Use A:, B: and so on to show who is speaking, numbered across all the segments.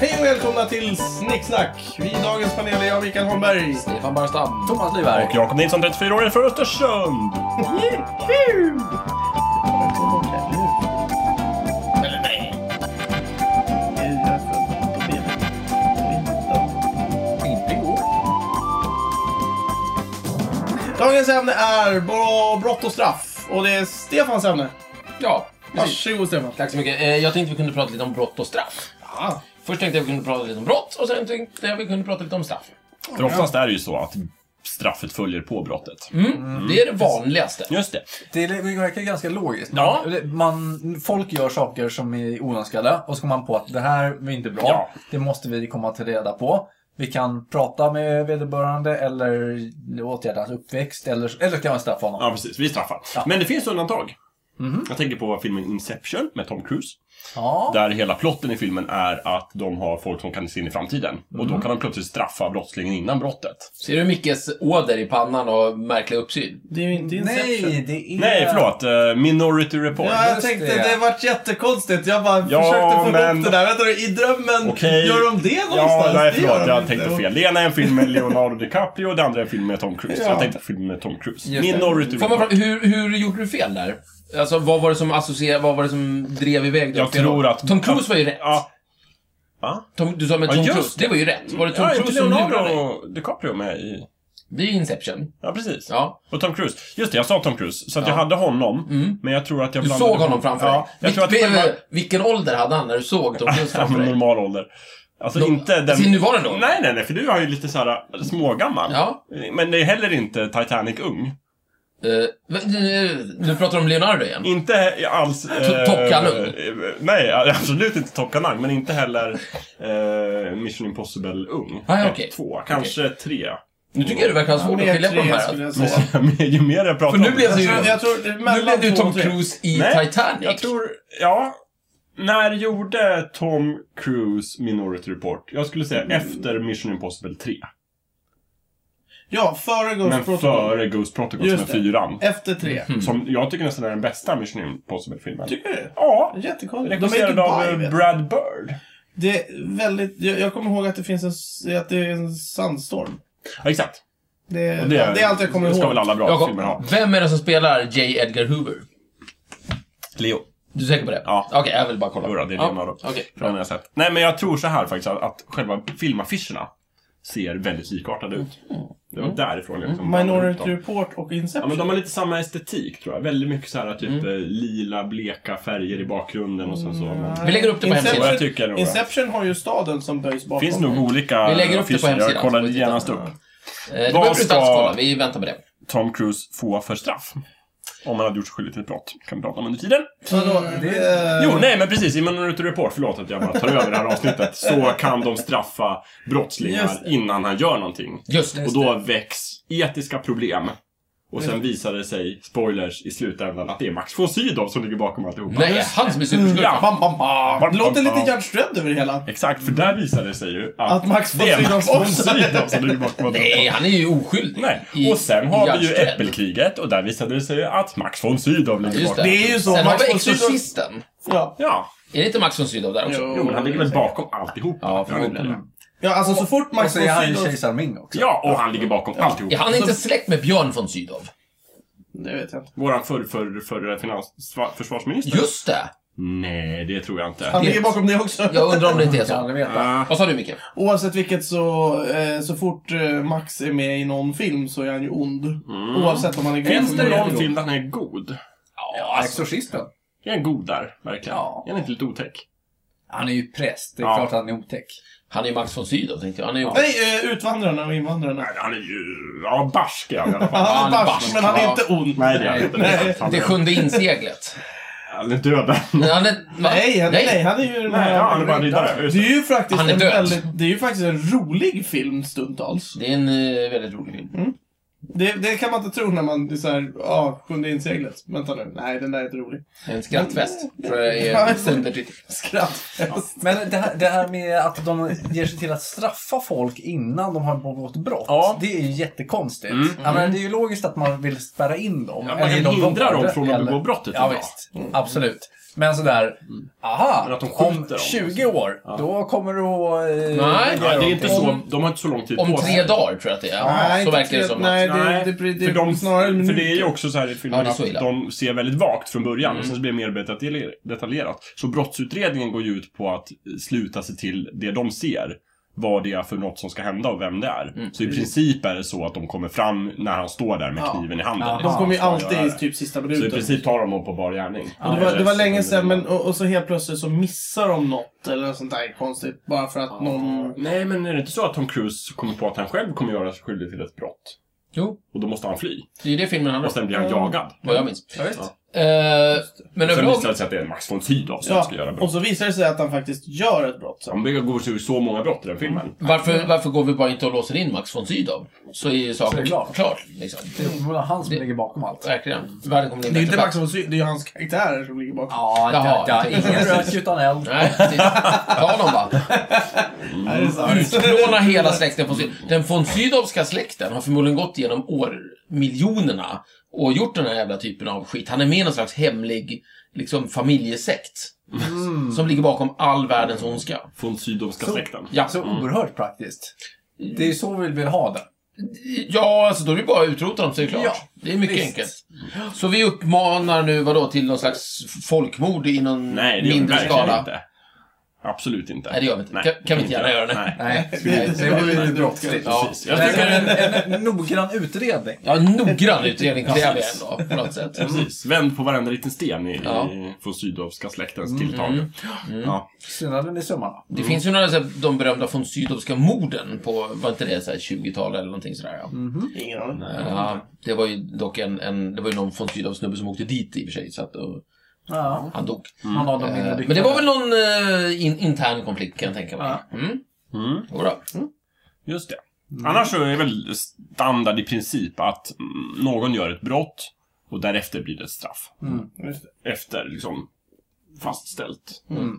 A: Hej och välkomna till Snicksnack! Vi i dagens panel är jag, Mikael Holmberg.
B: Stefan Barstam.
C: Thomas Lyberg.
D: Och Jakob Nilsson, 34 år, är från Östersund.
A: Eller nej. Jag är född på BB. Och
B: Inte igår.
A: inte. Dagens ämne är bra- brott och straff. Och det är Stefans ämne.
B: Ja, precis.
A: Varsågod Stefan.
B: Tack så mycket. Eh, Jag tänkte vi kunde prata lite om brott och straff.
A: Ja.
B: Först tänkte jag vi kunde prata lite om brott och sen tänkte jag vi kunde prata lite om straff.
D: För oftast är det ju så att straffet följer på brottet.
B: Mm. Det är det vanligaste.
D: Just det.
C: Det är- verkar ganska logiskt.
D: Ja.
C: Man, folk gör saker som är oönskade och så kommer man på att det här är inte bra.
D: Ja.
C: Det måste vi komma till reda på. Vi kan prata med vederbörande eller åtgärda hans uppväxt eller, eller kan man straffa honom.
D: Ja, precis. Vi straffar. Men det finns undantag. Jag tänker på filmen Inception med Tom Cruise.
C: Ja.
D: Där hela plotten i filmen är att de har folk som kan se in i framtiden. Och då kan de plötsligt straffa brottslingen innan brottet.
B: Ser du Mickes åder i pannan och märklig uppsyn?
A: Det är ju inte Inception.
C: Nej, det är...
D: Nej, förlåt. eh, Minority Report.
A: Ja, jag
C: Just
A: tänkte
C: det.
A: det vart jättekonstigt. Jag bara
D: Ja,
A: försökte få
D: men-
A: ihop det där. Vänta nu, i drömmen,
D: Okej.
A: gör de det någonstans?
D: Ja, nej,
A: Det gör
D: förlåt.
A: de
D: Jag
A: inte.
D: tänkte fel. Det ena är en film med Leonardo DiCaprio och det andra är en film med Tom Cruise.
A: Ja.
D: Jag tänkte på film med Tom Cruise.
C: Just det.
D: Minority
B: Får man
D: Report.
B: fråga, hur, hur gjorde du fel där? Alltså, vad var det som associerade, vad var det som drev iväg dig
D: Jag
B: åt fel
D: tror
B: håll?
D: att-
B: Tom Cruise var ju rätt.
D: Ja. Va?
B: Tom, du sa med
D: Ja,
B: Tom
D: just
B: Cruise, det var ju rätt. Var det Tom
D: Ja, inte
B: Cruise som lurade dig?
D: Leonardo DiCaprio med i...
B: Det är ju Inception.
D: Ja, precis.
B: Ja.
D: Och Tom Cruise. Just det, jag sa Tom Cruise. Så att
B: Ja. Mm.
D: jag hade honom, men jag tror att jag
B: Du
D: blandade
B: såg honom
D: ihop-
B: framför
D: ja,
B: dig.
D: Jag tror att
B: Vil-
D: själva...
B: vil- Vilken ålder hade han när du såg Tom Cruise
D: Ja,
B: framför
D: men
B: dig?
D: normal ålder. Alltså
B: Då-
D: inte den...
B: sin nuvarande ålder?
D: Nej, nej, nej, för du är ju lite så här äh, smågammal.
B: Ja.
D: Men det är heller inte Titanic-ung.
B: Eh, men, eh, nu pratar du om Leonardo igen.
D: Inte he- alls... eh,
B: Tokkanung?
D: eh, Nej, absolut inte Tokkanung, men inte heller eh, Mission Impossible-ung.
B: Ah, ja,
D: Ett,
B: okej.
D: Två, kanske tre.
B: Nu tycker jag det verkar svårt att
A: Mer
B: skilja på de
A: tre
B: här.
A: skulle jag
D: Men
A: säga.
D: ju mer jag pratar
B: För nu
D: om det-
B: blev det ju...
A: Jag tror- Jag tror
B: Nu blev
A: mellan
B: det ju
A: två
B: Tom
A: och tre.
B: Cruise i
D: Nej,
B: Titanic.
D: Jag tror, ja. När gjorde Tom Cruise Minority Report? Jag skulle
A: Mm.
D: säga efter Mission Impossible 3.
A: Ja, före
D: Men
A: Ghost Protocol.
D: före Mhm. Ghost Protocol
A: Just
D: som är
A: det.
D: fyran.
A: Efter tre.
D: Som jag tycker nästan är den bästa Mission Impossible-filmen.
A: Tycker du?
D: Ja.
A: Jättekonstigt. De är i
D: Regisserad av
A: Dubai,
D: eh,
A: vet du.
D: Brad Bird.
A: Det är väldigt... Jag, jag kommer ihåg att det finns en, s- att det är en sandstorm.
D: Ja, exakt.
A: Det, är-
D: Och
A: det, är allt jag kommer
D: Det
A: ihåg.
D: ska väl alla bra
B: Jakob,
D: filmer ha.
B: vem är det som spelar J. Edgar Hoover?
D: Leo.
B: Du är säker på det?
D: Ja.
B: Okej, jag vill bara kolla.
D: Jodå, det är Leonardo.
B: Ja, okej. Eh,
D: För den har jag sett. Nej, men jag tror så här faktiskt att, att själva filmaffischerna ser väldigt likartade ut. Det var därifrån jag liksom
A: Mm. Minority Report och
D: Ja, men
A: Inception.
D: de har lite samma estetik tror jag. Väldigt mycket så här typ
B: Mm.
D: eh, lila, bleka färger i bakgrunden och sen så. Men...
B: Vi lägger upp det på
A: Inception-
D: Och
B: hemsidan.
D: jag tycker nog det.
A: Inception har ju staden som böjs bakom.
D: finns nog olika
B: Vi lägger upp det på
D: affischer.
B: hemsidan,
D: Jag
B: så
D: kollar
B: får vi
D: genast
B: titta.
D: upp.
B: Eh, Du
D: Vad
B: behöver inte alls
D: ska-
B: kolla, vi väntar på det.
D: Tom Cruise få för straff. Om han hade gjort sig skyldig till ett brott. Kan vi prata om under tiden.
A: Vadå? Eh, Det-
B: Eh.
D: Jo, nej men precis. I Minority Report, förlåt att jag bara tar över det här avsnittet. Så kan de straffa
A: Just
D: brottslingar
A: det.
D: innan han gör någonting.
B: Just det. Mm.
D: Och då väcks etiska problem. Och sen visar det sig, spoilers, i slutändan att det är Max von Sydow som ligger bakom alltihopa.
B: Nej, det är han som är superskurken.
D: Mm. Ja.
A: mm, Bam, bam, bam.
D: bam,
A: Det låter
D: bam.
A: lite Gerd Ström över det hela.
D: Exakt, för där visar det sig ju att,
A: Att Max von
D: det är
A: Sydow
D: Max von
A: också-
D: Sydow som ligger bakom allt
B: Nej,
D: detta.
B: han är ju oskyldig.
D: Nej.
B: i
D: Och sen har vi ju
B: Judge Dredd.
D: Äppelkriget och där visade det sig ju att Max von Sydow ligger
B: Just
D: bakom.
B: det.
A: Det är ju så,
B: Sen
A: Max
B: har vi
A: von Sydow-
B: Exorcisten.
A: Ja.
D: Ja,
B: Är det inte Max von Sydow där också?
A: Jo.
D: jo men han ligger väl bakom alltihopa.
B: Ja,
D: gör han inte
B: förmodligen.
D: det?
A: ja, alltså så fort
C: Och
A: Max
C: så
A: von
C: är han ju
A: Sydow...
C: kejsar Ming också.
D: Ja, och han ligger bakom alltihopa.
B: Är han inte
A: Alltså-
B: släkt med Björn von Sydow?
A: Det vet jag inte.
D: Våran förr för, för eh, finans, sva- försvarsminister?
B: Just det!
D: Nej, det tror jag inte.
A: Han ligger bakom det också.
B: Jag undrar om det inte är
C: Jag kan aldrig
B: så.
C: veta.
D: Ah,
B: Vad sa du, Micke?
A: Oavsett vilket så, eh, så fort eh, Max är med i någon film så är han ju ond. Oavsett om han är
D: finns
A: eller
D: det någon
A: god.
D: film där han är god?
B: Ja, alltså,
C: Exorcisten.
D: Är han god där, verkligen?
C: Ja.
D: Är han inte lite otäck?
C: Han är ju präst. Det är
D: Ja.
C: klart han är otäck.
B: han är ju Max von Sydow, tänkte jag. Han är ju...
A: Nej, eh, Utvandrarna och Invandrarna.
D: Nej, han är ju... Ja, barsk är han i alla fall.
A: Han är
B: han är
A: barsk,
B: barsk,
A: men han är
B: ja.
A: inte ond.
D: Nej, det är han inte. Det är sant. Han
B: Det
D: är-
B: sjunde inseglet.
D: Han är död.
B: Nej, han är...
A: Nej, han, nej.
B: nej.
A: han är ju den
D: Nej,
A: här...
D: ja, han är bara riddare. Just
A: det
D: det.
A: är ju faktiskt
B: Han är
A: en
B: död.
A: väldigt, det är ju faktiskt en rolig film stundtals.
B: Det är en eh, väldigt rolig film.
A: Mm. Det, det kan man inte tro när man är såhär, ja, ah, sjunde inseglet. Vänta nu, nej den där är inte rolig.
B: En skrattfest, tror jag
A: Ja.
B: är undertitel.
A: Skratt.
C: Men det här, det här med att de ger sig till att straffa folk innan de har begått brott.
D: Ja.
C: Det är ju jättekonstigt.
D: Mm.
C: Ja, men det är ju logiskt att man vill spärra in dem.
D: Ja, man
C: eller
D: kan
C: ge dem
D: hindra
C: vård,
D: dem från att
C: eller-
D: begå brottet
C: Ja,
D: idag.
C: visst. Absolut. Men sådär,
D: Mm. Men
C: aha,
D: att de skjuter
C: om
D: dem. alltså.
C: 20 år, då kommer du att... eh,
B: Nej.
D: Nej,
C: göra
D: det är inte så.
B: Om-
D: De har inte så lång tid
B: Om
D: på
B: tre
D: sig.
B: dagar tror jag att det är. så
A: inte
B: verkar
A: tre-
B: det som.
A: Nej,
B: att,
A: det,
D: Nej,
A: det, det, det,
D: för, de,
A: snarare
D: för det är ju
A: minuter.
D: också så här i
B: Ja,
D: filmen,
B: det är så illa.
D: de ser väldigt vagt från början
A: Mm.
D: och sen så blir det mer detaljer- detaljerat. Så brottsutredningen går ju ut på att sluta sig till det de ser. Vad det är för något som ska hända och vem det är. Så i princip är det så att de kommer fram när han står där med
A: Mm. Ja.
D: kniven i handen.
C: Ja.
D: liksom.
A: De kommer ju
D: Så han
A: alltid
D: gör
A: i
D: det.
A: typ sista
D: Så i
A: minuten.
D: princip tar de dem på bar gärning.
A: Och det, var, det var länge sedan, men, och, och så helt plötsligt så missar de något eller något sånt där konstigt. Bara för att någon...
D: Nej, men är det inte så att Tom Cruise kommer på att han själv kommer göra sig skyldig till ett brott?
B: Jo,
D: Och då måste han fly.
B: det är ju det filmen handlar
D: Och
B: om.
D: sen blir han jagad.
B: Vad jag minns.
C: Ja, visst.
B: Eh, men
D: Sen
B: överlag...
D: visar det sig att det är Max von Sydow som
A: Ja,
D: ska göra brott.
A: och så visar det sig att han faktiskt gör ett brott. Så.
D: De begår ju så många brott i den
B: Mm.
D: filmen.
B: Varför, varför går vi bara inte och låser in Max von Sydow? Så är ju
C: Så
B: saken
C: är det
B: klar.
C: klart.
B: liksom.
C: Det är uppenbarligen han som
B: Det-
C: ligger bakom allt.
B: Verkligen. Världen kommer bli en
A: Det är inte
B: bättre
A: Max von Sydow, det är ju hans karaktärer som ligger bakom.
C: Ja,
B: Jaha,
C: det,
B: det-
C: det, ingen rök utan eld.
B: Nej, precis. Ta honom bara.
A: Är det sant?
D: Mm.
B: Utplåna hela släkten von Sydow. Den von Sydowska släkten har förmodligen gått genom år, miljonerna och gjort den här jävla typen av skit. Han är med i någon slags hemlig liksom, familjesekt.
C: Mm.
B: Som ligger bakom all världens ondska.
D: Från Sydowska
C: Så-
D: släkten.
B: Ja.
C: Så oerhört praktiskt. Det är ju så vi vill ha det.
B: Ja, alltså då är det bara att utrota dem så är det klart.
C: Ja,
B: det är mycket
C: visst.
B: enkelt. Så vi uppmanar nu vadå till någon slags folkmord i någon
D: Nej, det gör vi
B: mindre
D: verkligen
B: skala?
D: inte. Absolut inte.
B: Nej, det gör vi inte.
D: Nej,
B: Kan- kan vi inte gärna göra det?
D: Nej,
C: Nej, det,
A: det-
C: det,
A: det-
C: vore
A: det-
C: ju brottsligt.
B: Ja.
D: precis. Jag
C: Men
D: tycker
C: en, en, en noggrann utredning.
B: Ja, en noggrann utredning kräver jag ändå på något sätt.
D: Precis. Vänd på varenda liten sten i,
B: Ja. Mm.
D: i, från Sydowska släktens tilltag. Ja.
C: Skillnaden i summan.
B: Det finns ju några så här, de berömda von Sydowska morden på, var inte det så här 20-talet eller någonting sådär? Ja. Eh,
A: Ingen aning.
B: Ja, det var ju dock en, en det var ju någon von Sydow snubbe som åkte dit i och för sig, så att och,
C: Ja.
B: han dog.
C: Han har de
B: Eh,
C: mindre
B: Men det var väl någon eh, in, intern konflikt kan jag tänka mig. Mm.
D: Mm.
B: Jodå.
D: Just det. Annars så är väl standard i princip att mm, någon gör ett brott och därefter blir det ett straff.
A: Just det.
D: Efter liksom fastställt.
C: Mm.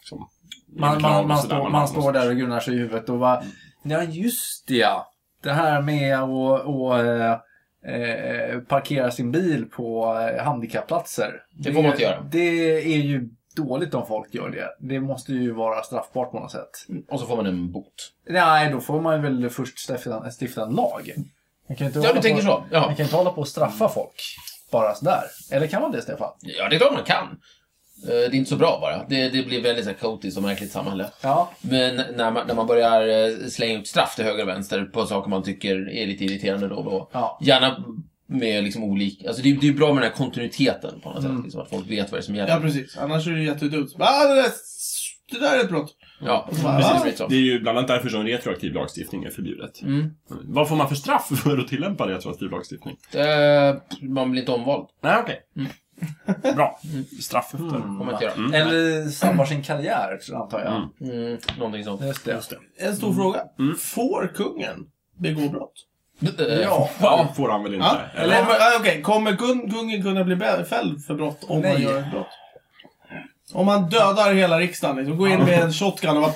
D: Liksom,
C: Man, man, man,
D: och sådär,
C: står, man står där och grunar sig i huvudet och bara, ja just det ja. Det här med att och, eh, eh, parkera sin bil på eh, handikappplatser.
B: Det får man inte göra.
C: Det är ju dåligt om folk gör det. Det måste ju vara straffbart på något sätt.
B: Och så får man en bot.
C: Nej, då får man väl först stifta, stifta en lag. Man kan ju inte
B: Ja,
C: hålla
B: du tänker
C: på,
B: så. Ja.
C: Man kan inte hålla på och straffa folk bara sådär. Eller kan man det, Stefan?
B: Ja, det är klart man kan. Eh, Det är inte så bra bara. Det, det blir väldigt så här kaotiskt och märkligt samhälle.
C: Ja.
B: Men när man, när man börjar eh, slänga ut straff till höger och vänster på saker man tycker är lite irriterande då och då.
C: Ja.
B: Gärna med liksom olika... Alltså det, är- det är bra med den här kontinuiteten på något sätt. Liksom, att folk vet vad det är som
A: Ja,
B: gäller.
A: precis. Annars är det jättedumt. Så bara, Ah, det, där, det där är ett brott.
B: Ja,
A: Ja.
B: precis. lite så.
D: Det är ju bland annat därför som retroaktiv lagstiftning är förbjudet.
B: Mm.
D: Vad får man för straff för att tillämpa retroaktiv lagstiftning?
B: Eh, man blir inte omvald.
D: Nej, okej. Bra. Straff efter.
B: Kommer man inte göra.
C: Mm. Eller sabbar sin karriär, antar jag.
D: Mm.
B: Mm, någonting sånt.
C: Just det.
A: En stor fråga. Får kungen begå brott?
B: Eh,
C: Ja.
D: Ja. får han väl inte?
A: Ja.
D: Eller?
A: Kommer, ah, okej. Kommer gun, kungen kunna bli bä- fälld för brott om han
C: Nej.
A: gör ett brott? Om man dödar hela riksdagen, liksom, går in med en shotgun och bara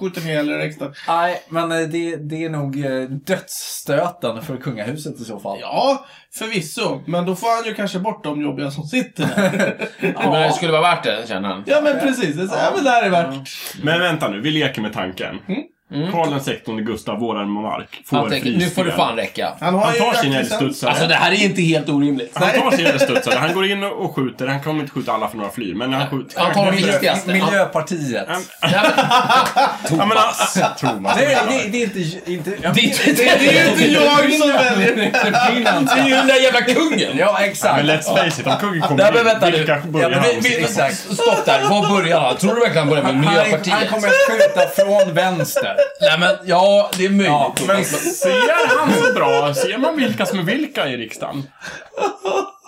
A: skjuter ner hela riksdagen.
C: Nej, men eh, det, det är nog eh, dödsstöten för kungahuset i så fall.
A: Ja, förvisso. Men då får han ju kanske bort de jobbiga som sitter där.
B: Jag menar, det skulle vara värt det, känner han.
A: ja, men precis. Det är så, ja, men det här är värt.
D: Men vänta nu, vi leker med tanken. Karl XVI Gustav, vår monark, får
B: Han
D: han
B: tänker, nu får det fan räcka.
A: Han, har
D: Han
A: ju
D: tar sin
A: jaktlicens.
D: älgstudsare.
B: Alltså det här är inte helt orimligt.
D: han tar sin älgstudsare. Han går in och skjuter. Han kommer inte skjuta alla för några flyr, men han skjuter.
B: Han tar de viktigaste. Han-
C: Miljöpartiet.
D: Ja, men han... Thomas.
C: Nej, det, det är inte... inte jag,
B: Det är inte-
A: Det är ju inte jag som väljer.
B: Det är ju den där jävla kungen!
C: Ja, exakt.
D: Men let's face it, om kungen kommer
B: Nej men
D: in,
B: vänta nu.
D: vilka börjar
C: men
D: han?
C: vi- vi-
B: Exakt. Stopp där, var börjar han? Tror du verkligen han börjar med
C: Han, är- han
B: Miljöpartiet?
C: kommer att skjuta från vänster.
B: Nej men, ja det är möjligt.
C: Ja,
D: Men ser han så bra? Ser man vilka som är vilka i riksdagen?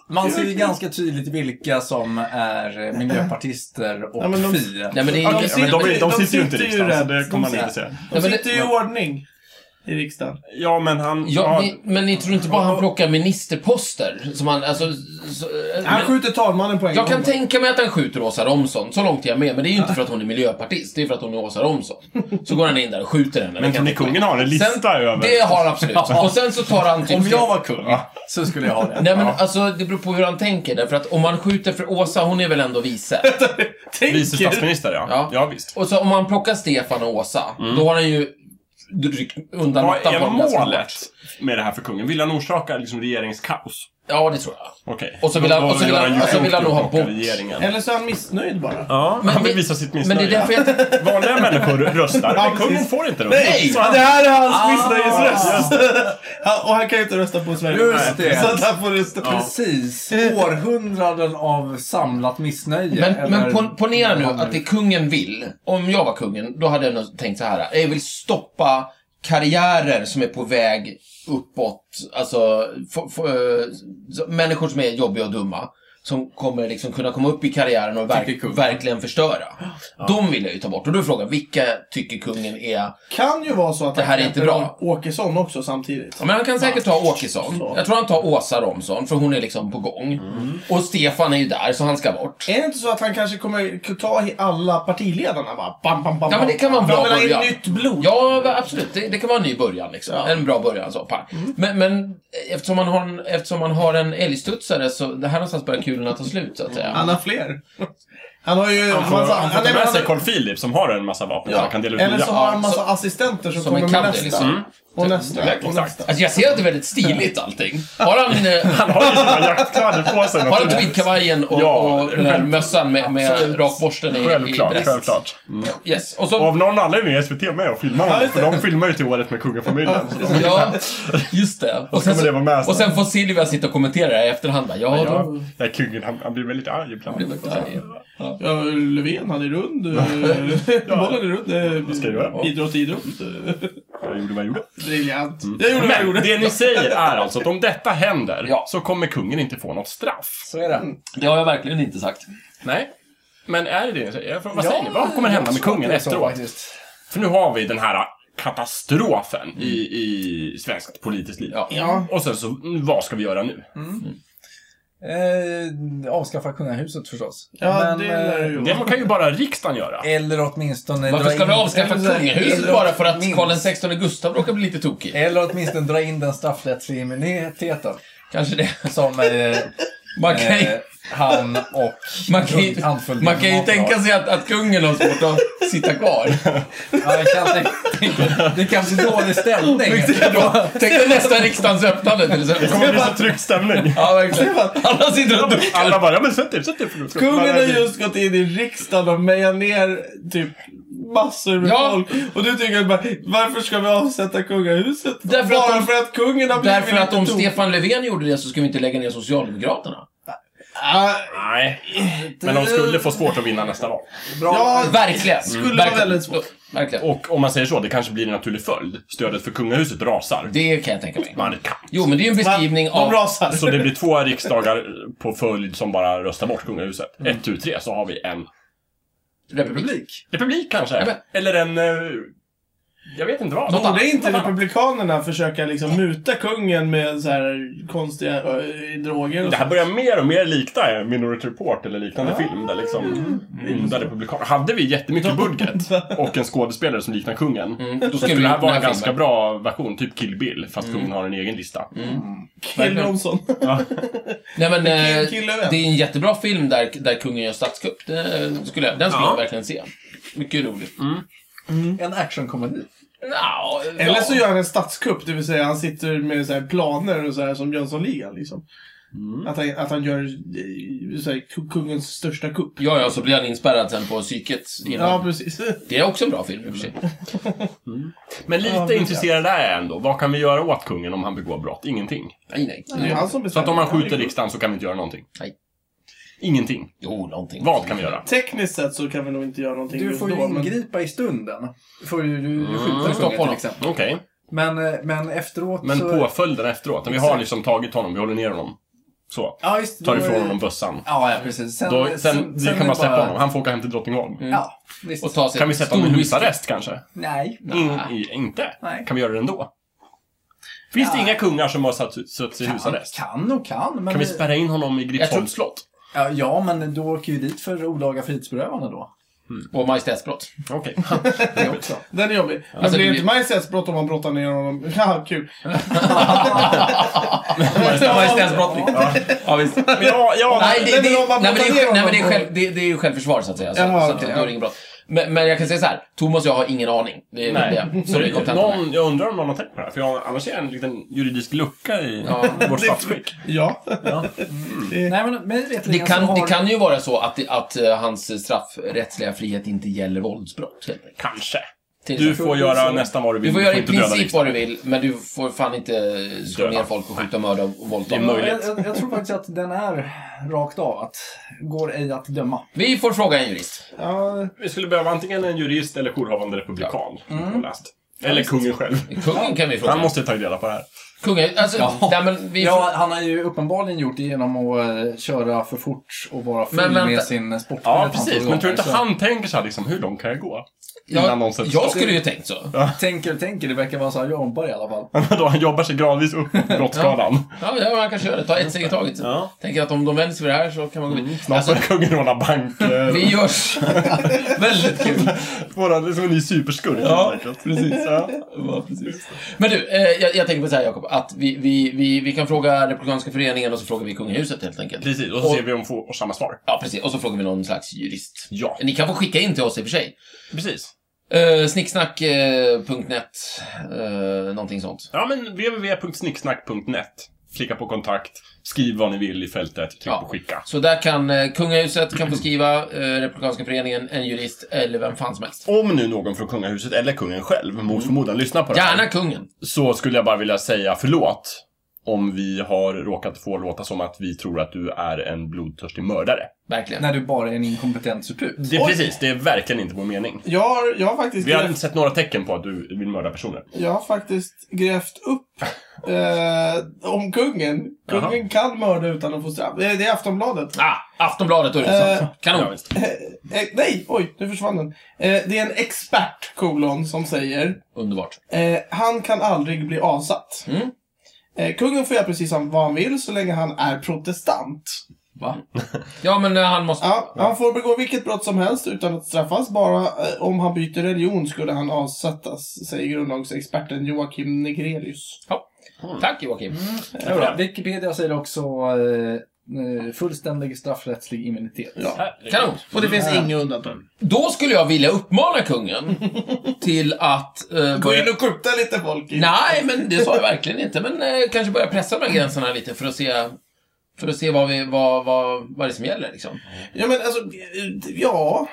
C: Man ser ju ganska tydligt vilka som är eh, miljöpartister och
A: Ja, men de-
C: fi.
B: Nej men det är
A: Ja,
B: ju...
A: de
D: Ja, men de,
A: sitter-
D: de,
A: de
D: sitter
A: sitter
D: ju inte i
A: ju
D: riksdagen, så
A: rätt.
D: det kommer
A: De
D: man inte se.
A: De
B: men det-
A: sitter ju i ordning. i riksdagen.
D: Ja, men han...
B: Ja, ni, men ni tror inte bara han plockar ministerposter? Som han, alltså... Så,
A: Han
B: men,
A: skjuter talmannen på en
B: jag
A: gång.
B: kan tänka mig att han skjuter Åsa Romson, så långt är jag med. Men det är ju inte för att hon är miljöpartist, det är för att hon är Åsa Romson. Så går han in där och skjuter henne.
D: men
B: Det kan jag
D: kan
B: tänka mig.
D: kungen har en lista över...
B: Det har han absolut. Och sen så tar han typ...
C: Om jag var kung så skulle jag ha det.
B: Nej men alltså, det beror på hur han tänker. Därför att om han skjuter för Åsa, hon är väl ändå vice?
A: Tänker-
D: Vice statsminister, ja.
B: Ja.
D: ja. visst.
B: Och så om han plockar Stefan och Åsa, då har han ju ryckt undan
D: Vad
B: mattan
D: är
B: på dem ganska
D: målet
B: hårt.
D: med det här för kungen? Vill han orsaka liksom regeringskaos?
B: Ja, det tror jag.
D: Okej.
B: Och så vill han-
D: Då- då
B: och så vill
D: gör
B: han-
D: ju
B: och så
D: klokt
B: vill han
D: att
B: nog ha
D: plocka
B: bort.
D: regeringen.
A: Eller så är han missnöjd bara.
D: Ja,
B: Men
D: han vill
B: det-
D: visa sitt
B: Men
D: missnöje.
B: det är därför jag...
D: Vanliga människor röstar,
A: Ja,
D: men kungen
A: precis.
D: får inte rösta.
A: Nej!
D: Så han-
A: Det här är hans
B: Ah.
A: missnöjesröst! Han- och han kan ju inte rösta på Sverigedemokraterna.
C: Just det.
A: Så att han får rösta på...
C: Precis. Århundraden av samlat missnöje.
B: Men,
C: eller-
B: men pon- ponera nu att det kungen vill. Om jag var kungen, då hade jag nog tänkt så här. Jag vill stoppa karriärer som är på väg uppåt. Alltså, f- f- eh, så- människor som är jobbiga och dumma. Som kommer liksom kunna komma upp i karriären och
C: Tycker
B: verk,
C: kungen.
B: verkligen förstöra. De vill jag ju ta bort. Och då är frågan, vilka tycker kungen är...
A: Kan ju vara så att
B: Det här är inte
A: heter
B: bra.
A: Åkesson också samtidigt.
B: Ja, Men han kan säkert ta Åkesson.
A: Så.
B: Jag tror han tar Åsa Romson, för hon är liksom på gång. Och Stefan är ju där, så han ska bort.
A: Är det inte så att han kanske kommer ta i alla partiledarna bara? Bam, bam, bam,
B: Ja, men det kan vara en
A: bam.
B: bra
A: Han vill ha
B: början.
A: in nytt blod.
B: Ja, va- absolut. Det, det kan vara en ny början. Liksom.
A: Ja.
B: En bra början. Så, pang.
D: Mm.
B: Men, men eftersom, man har en, eftersom man har en älgstudsare så det här någonstans börjar kulorna ta slut, så att säga.
A: Han har fler. Han har ju...
D: Han får,
A: massa-
D: han får ta
A: nej, men
D: med
A: han-
D: sig Carl Philip som har en massa vapen
B: Ja.
D: som han kan dela ut
A: Eller så
D: nya.
A: har han massa
B: Ja,
A: assistenter som,
B: som
A: kommer
B: en
A: med
B: kander,
A: nästa.
B: liksom. Mm.
A: Och nästa.
B: Exakt.
A: Och nästa.
B: Alltså, jag ser att det är väldigt stiligt allting. Har han, eh,
D: Han har ju sina jaktkläder på sig
B: har han
D: naturligtvis.
B: tweedkavajen och,
D: Ja,
B: och den här
D: själv-
B: mössan med, med
D: absolut.
B: rakborsten i, i
D: Självklart,
B: brest?
D: självklart.
B: Yes. Och
D: Och
B: så,
D: av någon anledning är SVT med och filmar honom,
A: just
D: för de filmar ju till året med kungafamiljen. Så de-
B: ja, just det. Och sen,
D: kommer det vara med
B: så,
D: sen.
B: och sen får Silvia sitta och kommentera det här i efterhand. bara, Ja,
D: Ja,
B: då...
D: ja, kungen, han, han blir väldigt arg ibland.
A: Ja, Löfven, han är rund. eh, Bollen är rund. eh,
D: Vad ska jag göra?
A: Idrott, idrott. eh,
D: Jag gjorde vad jag gjorde.
A: Briljant. Jag gjorde vad jag
D: Men
A: gjorde.
D: det ni säger är alltså att om detta händer
B: Ja.
D: så kommer kungen inte få något straff.
C: Så är
A: Mm.
C: det.
B: Det har jag verkligen inte sagt.
D: Nej. Men är det det ni säger? Jag frågar, Vad säger ni? Vad kommer hända med kungen
C: Det är så
D: efteråt?
C: faktiskt.
D: För nu har vi den här katastrofen i, i svenskt politiskt liv.
B: Ja.
A: Ja.
D: Och sen så, mm, vad ska vi göra nu?
C: Eh, avskaffa kungahuset förstås.
A: Ja,
C: Men,
A: det lär det
C: eh,
A: ju vara.
D: Det kan ju bara riksdagen göra.
C: Eller åtminstone
B: Varför ska vi avskaffa
A: eller-
B: kungahuset
C: eller-
B: bara för att
C: minst.
B: Karl XVI Gustav råkar bli lite tokig?
C: Eller åtminstone dra in den straffrättsliga immuniteten.
B: Kanske det.
C: Som eh,
B: Man kan ju,
C: eh, han och
B: man kan ju,
C: anföljden
B: man kan ju
C: har.
B: tänka sig att, att kungen har svårt att sitta kvar.
C: Ja, jag kan tänka- tänka- det är kanske är dålig stämning.
B: Tänk dig nästa riksdagens öppnande till
D: Det
B: exempel.
D: kommer bli så tryckt stämning.
B: Ja, verkligen. Alla sitter och duckar.
D: Alla bara, ja men sätt er, sätt er. för- för-
A: Kungen har
D: för-
B: typ-
A: just gått in i riksdagen och mejat ner typ massor med
B: Ja.
A: folk. Och du tycker bara, varför ska vi avsätta kungahuset?
B: Därför att
A: bara
B: de-
A: för att kungen har blivit
B: Därför att om
A: lite tok-
B: Stefan Löfven gjorde det så skulle vi inte lägga ner Socialdemokraterna.
A: Ah,
D: Nej, men de skulle få svårt att vinna nästa val.
A: ja,
B: Verkligen.
A: Skulle vara
B: verkligen.
A: väldigt svårt.
B: Verkligen.
D: Och om man säger så, det kanske blir en naturlig följd. Stödet för kungahuset rasar.
B: Det kan jag tänka mig.
D: Man kan.
B: Jo, men det är ju en beskrivning
A: de
B: av...
A: rasar.
D: Så det blir två riksdagar på följd som bara röstar bort kungahuset. Ett, tu, tre, så har vi en
B: Republik.
D: republik kanske.
B: Ja, men-
D: Eller en... eh, Jag vet inte vad.
B: Något annat.
A: Borde inte
D: Något annat.
A: Republikanerna försöka liksom muta kungen med så här konstiga äh, droger och
D: Det här
A: sånt?
D: börjar mer och mer likna en Minority Report eller liknande film där liksom onda republikaner. Hade vi jättemycket budget och en skådespelare som liknar kungen, då
B: Mm, vi
D: skulle det här
B: gjort
D: vara
B: den här
D: en ganska
B: filmen.
D: bra version, typ Kill Bill, fast
C: Mm.
D: kungen har en egen lista.
A: Kill Romson.
B: Nej men,
A: Vilken
B: eh,
A: kille vän.
B: det är en jättebra film där, där kungen gör statskupp. Det, eh, skulle jag, den skulle
D: Ja.
B: jag verkligen se. Mycket roligt. Mm.
C: En actionkomedi.
A: Eller så gör han en statskupp, det vill säga han sitter med så här planer och så här som Jönssonligan liksom. Att, han, att han gör eh, så här, ku- kungens största kupp.
B: Ja, ja, så blir han inspärrad sen på psyket. innan.
A: Ja, precis.
B: Det är också en bra film i och för sig.
D: Men lite
A: Ja, visst.
D: intresserad är jag ändå. Vad kan vi göra åt kungen om han begår brott? Ingenting.
B: Nej, nej.
A: Det är ju han som
D: Så
A: bestämmer.
D: att om man skjuter riksdagen så kan vi inte göra någonting?
B: Nej.
D: Ingenting.
B: Jo, någonting.
D: Vad kan vi göra?
A: Tekniskt sett så kan vi nog inte göra någonting
C: Du får ju
A: då, men-
C: ingripa i stunden. Du får ju du, du
B: Mm.
C: skjuta
B: Stoppa
C: kungen till
B: honom.
C: exempel.
D: Okej.
C: Men, eh, men efteråt
D: Men
C: så...
D: påföljden efteråt. när Vi har liksom tagit honom, vi håller ner honom. Så.
C: Ja, just det.
D: Tar
C: då är
D: ifrån
C: det-
D: honom bössan.
C: Ja, ja, precis. Sen,
D: Då, sen, vi
C: är Mm.
D: kan bara
C: det
D: släppa honom. Han får åka hem till Drottningholm.
C: Ja, visst.
B: Och ta sig
D: Kan vi sätta honom i
B: stor whisky.
D: husarrest kanske?
C: Nej.
D: In, i, inte?
C: Nej.
D: Kan vi göra det ändå? Finns det
C: Ja.
D: inga kungar som har satt, satt sig i husarrest?
C: kan och kan. Men
D: Kan vi spärra in honom i Gripsholms slott?
C: ja, ja, men då åker ju dit för olaga frihetsberövande då.
B: Och majestätsbrott.
D: Okej.
C: Det också.
A: Den är jobbig. Men
B: Alltså,
A: blir det
B: det blir-
A: inte majestätsbrott om man brottar ner honom? Ja, kul.
B: Majestätsbrott. Ja. ja, visst.
D: Men ja, ja,
B: Nej, det,
A: Nej,
B: det,
A: men om man
B: nej, men det,
A: brottar ner
B: är, nej, men det, är
A: honom
B: själv, det, det är ju självförsvar så att säga. Så,
A: Jaha,
B: så att,
A: okej,
B: då
A: ja.
B: är det inget brott. Men, men jag kan säga så här. Thomas och jag har ingen aning. Det är väl
D: Nej.
B: det. Så det är kontentan.
D: någon, jag undrar om någon har tänkt på det här, för jag, annars är det en liten juridisk lucka i
B: Ja.
D: vårt statsskick.
A: Ja.
C: Nej, men mig veterligen
B: Det
C: så
B: kan,
C: har...
B: det kan ju vara så att, det- att eh, hans straffrättsliga frihet inte gäller våldsbrott. helt enkelt.
D: Kanske.
B: Till
D: Du
B: exempel.
D: får göra nästan vad du vill.
B: du får göra i
D: inte döda
B: princip
D: riksdagen.
B: vad du vill, men du får fan inte slå
D: Döda.
B: ner folk och skjuta, mörda och våldta.
D: Det är
C: Ja,
D: möjligt.
C: jag, jag, jag tror faktiskt att den är rakt av. Att går ej att döma.
B: Vi får fråga en jurist.
A: ja.
D: Vi skulle behöva antingen en jurist eller jourhavande republikan. har
B: Mm.
D: jag läst. Eller kungen själv.
B: Kungen kan vi fråga.
D: Han måste ta reda på det här.
B: Kungen, alltså,
C: Ja.
B: nej, men vi
C: Ja, han har ju uppenbarligen gjort det genom att eh, köra för fort och vara full
B: Men vänta.
C: med sin eh, sportbil.
D: Ja,
C: ett antal
D: precis. Men
C: gånger,
D: tror du inte
B: Alltså-
C: så-
D: han tänker så här liksom, hur långt kan jag gå? Innan någon
B: jag,
D: sätter
B: jag
D: stopp.
B: skulle ju tänkt så.
C: eh, Tänker och tänker, det verkar vara så han jobbar i alla fall.
D: Då han jobbar sig gradvis upp på brottsskalan.
B: Ja, ja, man kanske gör det. Ta ett steg i taget.
D: Ja. Mm,
B: Tänker att om de vänder sig vid det här så kan man gå vidare.
D: Snart
B: Alltså,
D: börjar kungen råna banker.
B: vi görs. Väldigt kul.
D: Våra, liksom en ny superskurk
B: Ja,
D: helt enkelt. precis. Ja.
B: Men du, eh, jag, jag tänker på så här Jakob, att vi, vi, vi, vi kan fråga Republikanska föreningen och så frågar vi kungahuset helt enkelt.
D: Precis, och så ser vi om vi får samma svar.
B: Ja, precis. Och så frågar vi någon slags jurist.
D: Ja,
B: Ni kan få skicka in till oss i och för sig.
D: precis.
B: Eh, Snicksnack.net, eh, någonting sånt.
D: Ja, men www.snicksnack.net. Klicka på kontakt, skriv vad ni vill i fältet, tryck
B: Ja.
D: på skicka.
B: Så där kan eh, kungahuset kan få skriva, eh, Republikanska föreningen, en jurist eller vem fan som helst.
D: Om nu någon från kungahuset eller kungen själv mot förmodan lyssnar på det här,
B: Mm. Gärna kungen.
D: så skulle jag bara vilja säga förlåt om vi har råkat få låta som att vi tror att du är en blodtörstig mördare.
B: Verkligen.
C: När du bara är en inkompetent surput.
D: Det är precis, det är verkligen inte vår mening.
A: jag, har, jag, har faktiskt
D: Vi har
A: grävt,
D: inte sett några tecken på att du vill mörda personer.
A: jag har faktiskt grävt upp eh, om kungen. Kungen kan mörda utan att få straff. Eh, Det är Aftonbladet.
B: Ah, Aftonbladet, då är det sant.
D: Ja,
B: Kanon.
D: visst.
A: Eh, nej, oj, nu försvann den. Eh, det är en expert, kolon, som säger
B: Underbart.
A: Eh, han kan aldrig bli avsatt.
B: Mm.
A: Eh, kungen får göra precis som vad han vill så länge han är protestant.
C: Va?
B: Ja, men eh, han måste...
A: Ja, Han får begå vilket brott som helst utan att straffas. Bara eh, om han byter religion skulle han avsättas, säger grundlagsexperten Joakim Negrelius.
B: Tack Joakim.
D: Ja, bra.
C: Wikipedia säger också eh, eh, fullständig straffrättslig immunitet.
A: Ja.
D: Här.
B: Kanon.
A: Och det finns inga undantag.
B: Då skulle jag vilja uppmana kungen till att... eh,
A: Gå
B: börja-
A: in och skjuta lite folk. i-
B: Nej, men det sa jag verkligen inte. Men eh, kanske börja pressa de här gränserna lite för att se, för att se vad, vi, vad, vad, vad det är som gäller. Liksom.
A: Ja, men alltså, eh, ja.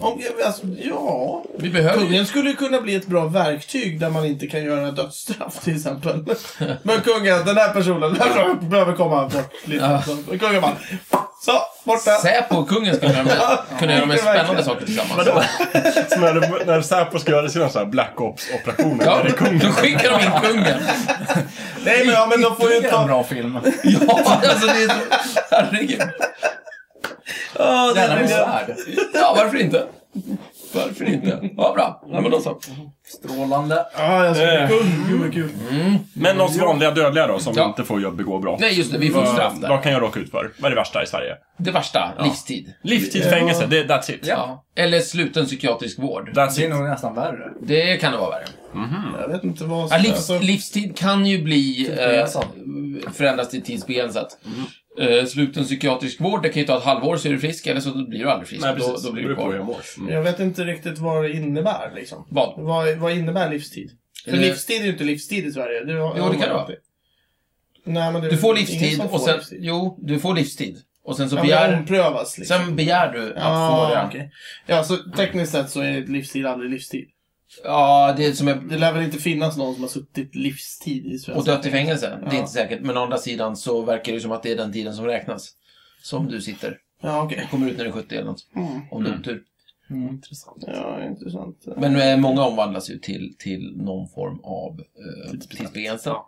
A: Om, alltså, ja.
B: Vi behöver ju...
A: Kungen skulle ju kunna bli ett bra verktyg där man inte kan göra dödsstraff till exempel. Men kungen, den här personen, den här behöver komma bort lite.
B: Ja.
A: Så, Kungen bara, så, borta.
B: Säpo och kungen skulle kunna göra de- kunna göra de mest spännande saker tillsammans.
D: Vadå? Som när, när Säpo ska göra sina så här Black Ops-operationer.
B: Ja,
D: där det är kungen.
B: då skickar de in kungen.
A: Nej men, ja, men de får ju
C: Ytterligare
A: ta...
C: en bra film.
B: Ja, alltså det är så... Herregud.
A: Ja, det-
C: Gärna med
A: det-
C: svärd.
B: Ja, varför inte? Varför inte? Ja, bra. Ja, men då så.
C: Strålande.
A: Ja, jag skulle
D: Eh.
A: kung. Gud vad kul.
D: Men oss vanliga dödliga då, som
B: Ja.
D: inte får göra- begå brott.
B: Nej, just det. Vi får straff där.
D: Vad kan jag råka ut för? Vad är det värsta i Sverige?
B: Det värsta. Livstid.
D: Livstidsfängelse, det, that's it.
B: Ja. Eller sluten psykiatrisk vård.
D: That's
C: Det är
D: it.
C: nog nästan värre.
B: Det kan det vara värre.
A: Jag vet inte vad
B: Ja,
A: som...
B: livs,
A: alltså,
B: livstid kan ju bli
C: Tidsbegränsad.
B: eh, förändras till tidsbegränsat.
D: Mm.
B: Eh, sluten psykiatrisk vård, det kan ju ta ett halvår så är du frisk, eller så blir du aldrig frisk.
D: Nej,
B: då,
D: precis.
B: då blir
D: Beror
B: du
D: på hur jag
B: kvar.
D: mår. Mm.
A: jag vet inte riktigt vad det innebär liksom.
B: Vad?
A: Vad, vad innebär livstid? För
B: Eh.
A: livstid är ju inte livstid i Sverige. Det, har-
B: Jo, det kan det vara.
A: Nej, men det är
B: Du får
A: ingen
B: livstid
A: som
B: och
A: får
B: sen...
A: livstid.
B: Jo, du får livstid. Och sen så
A: Ja, men det
B: begär...
A: omprövas liksom.
B: Sen begär du att få
A: Ja,
B: det.
A: okej. Ja, så tekniskt sett så är livstid aldrig livstid.
B: Ja, det är som är...
A: Det lär väl inte finnas någon som har suttit livstid i Sverige.
B: Och dött i fängelse. Det är
A: Ja.
B: inte säkert. Men å andra sidan så verkar det ju som att det är den tiden som räknas. Som du sitter.
A: Ja, okej.
B: Kommer ut när du är 70 eller något.
A: Mm.
B: Om du har tur.
D: Intressant.
A: Ja, intressant.
B: Men eh, många omvandlas ju till, till någon form av eh, tidsbegränsat.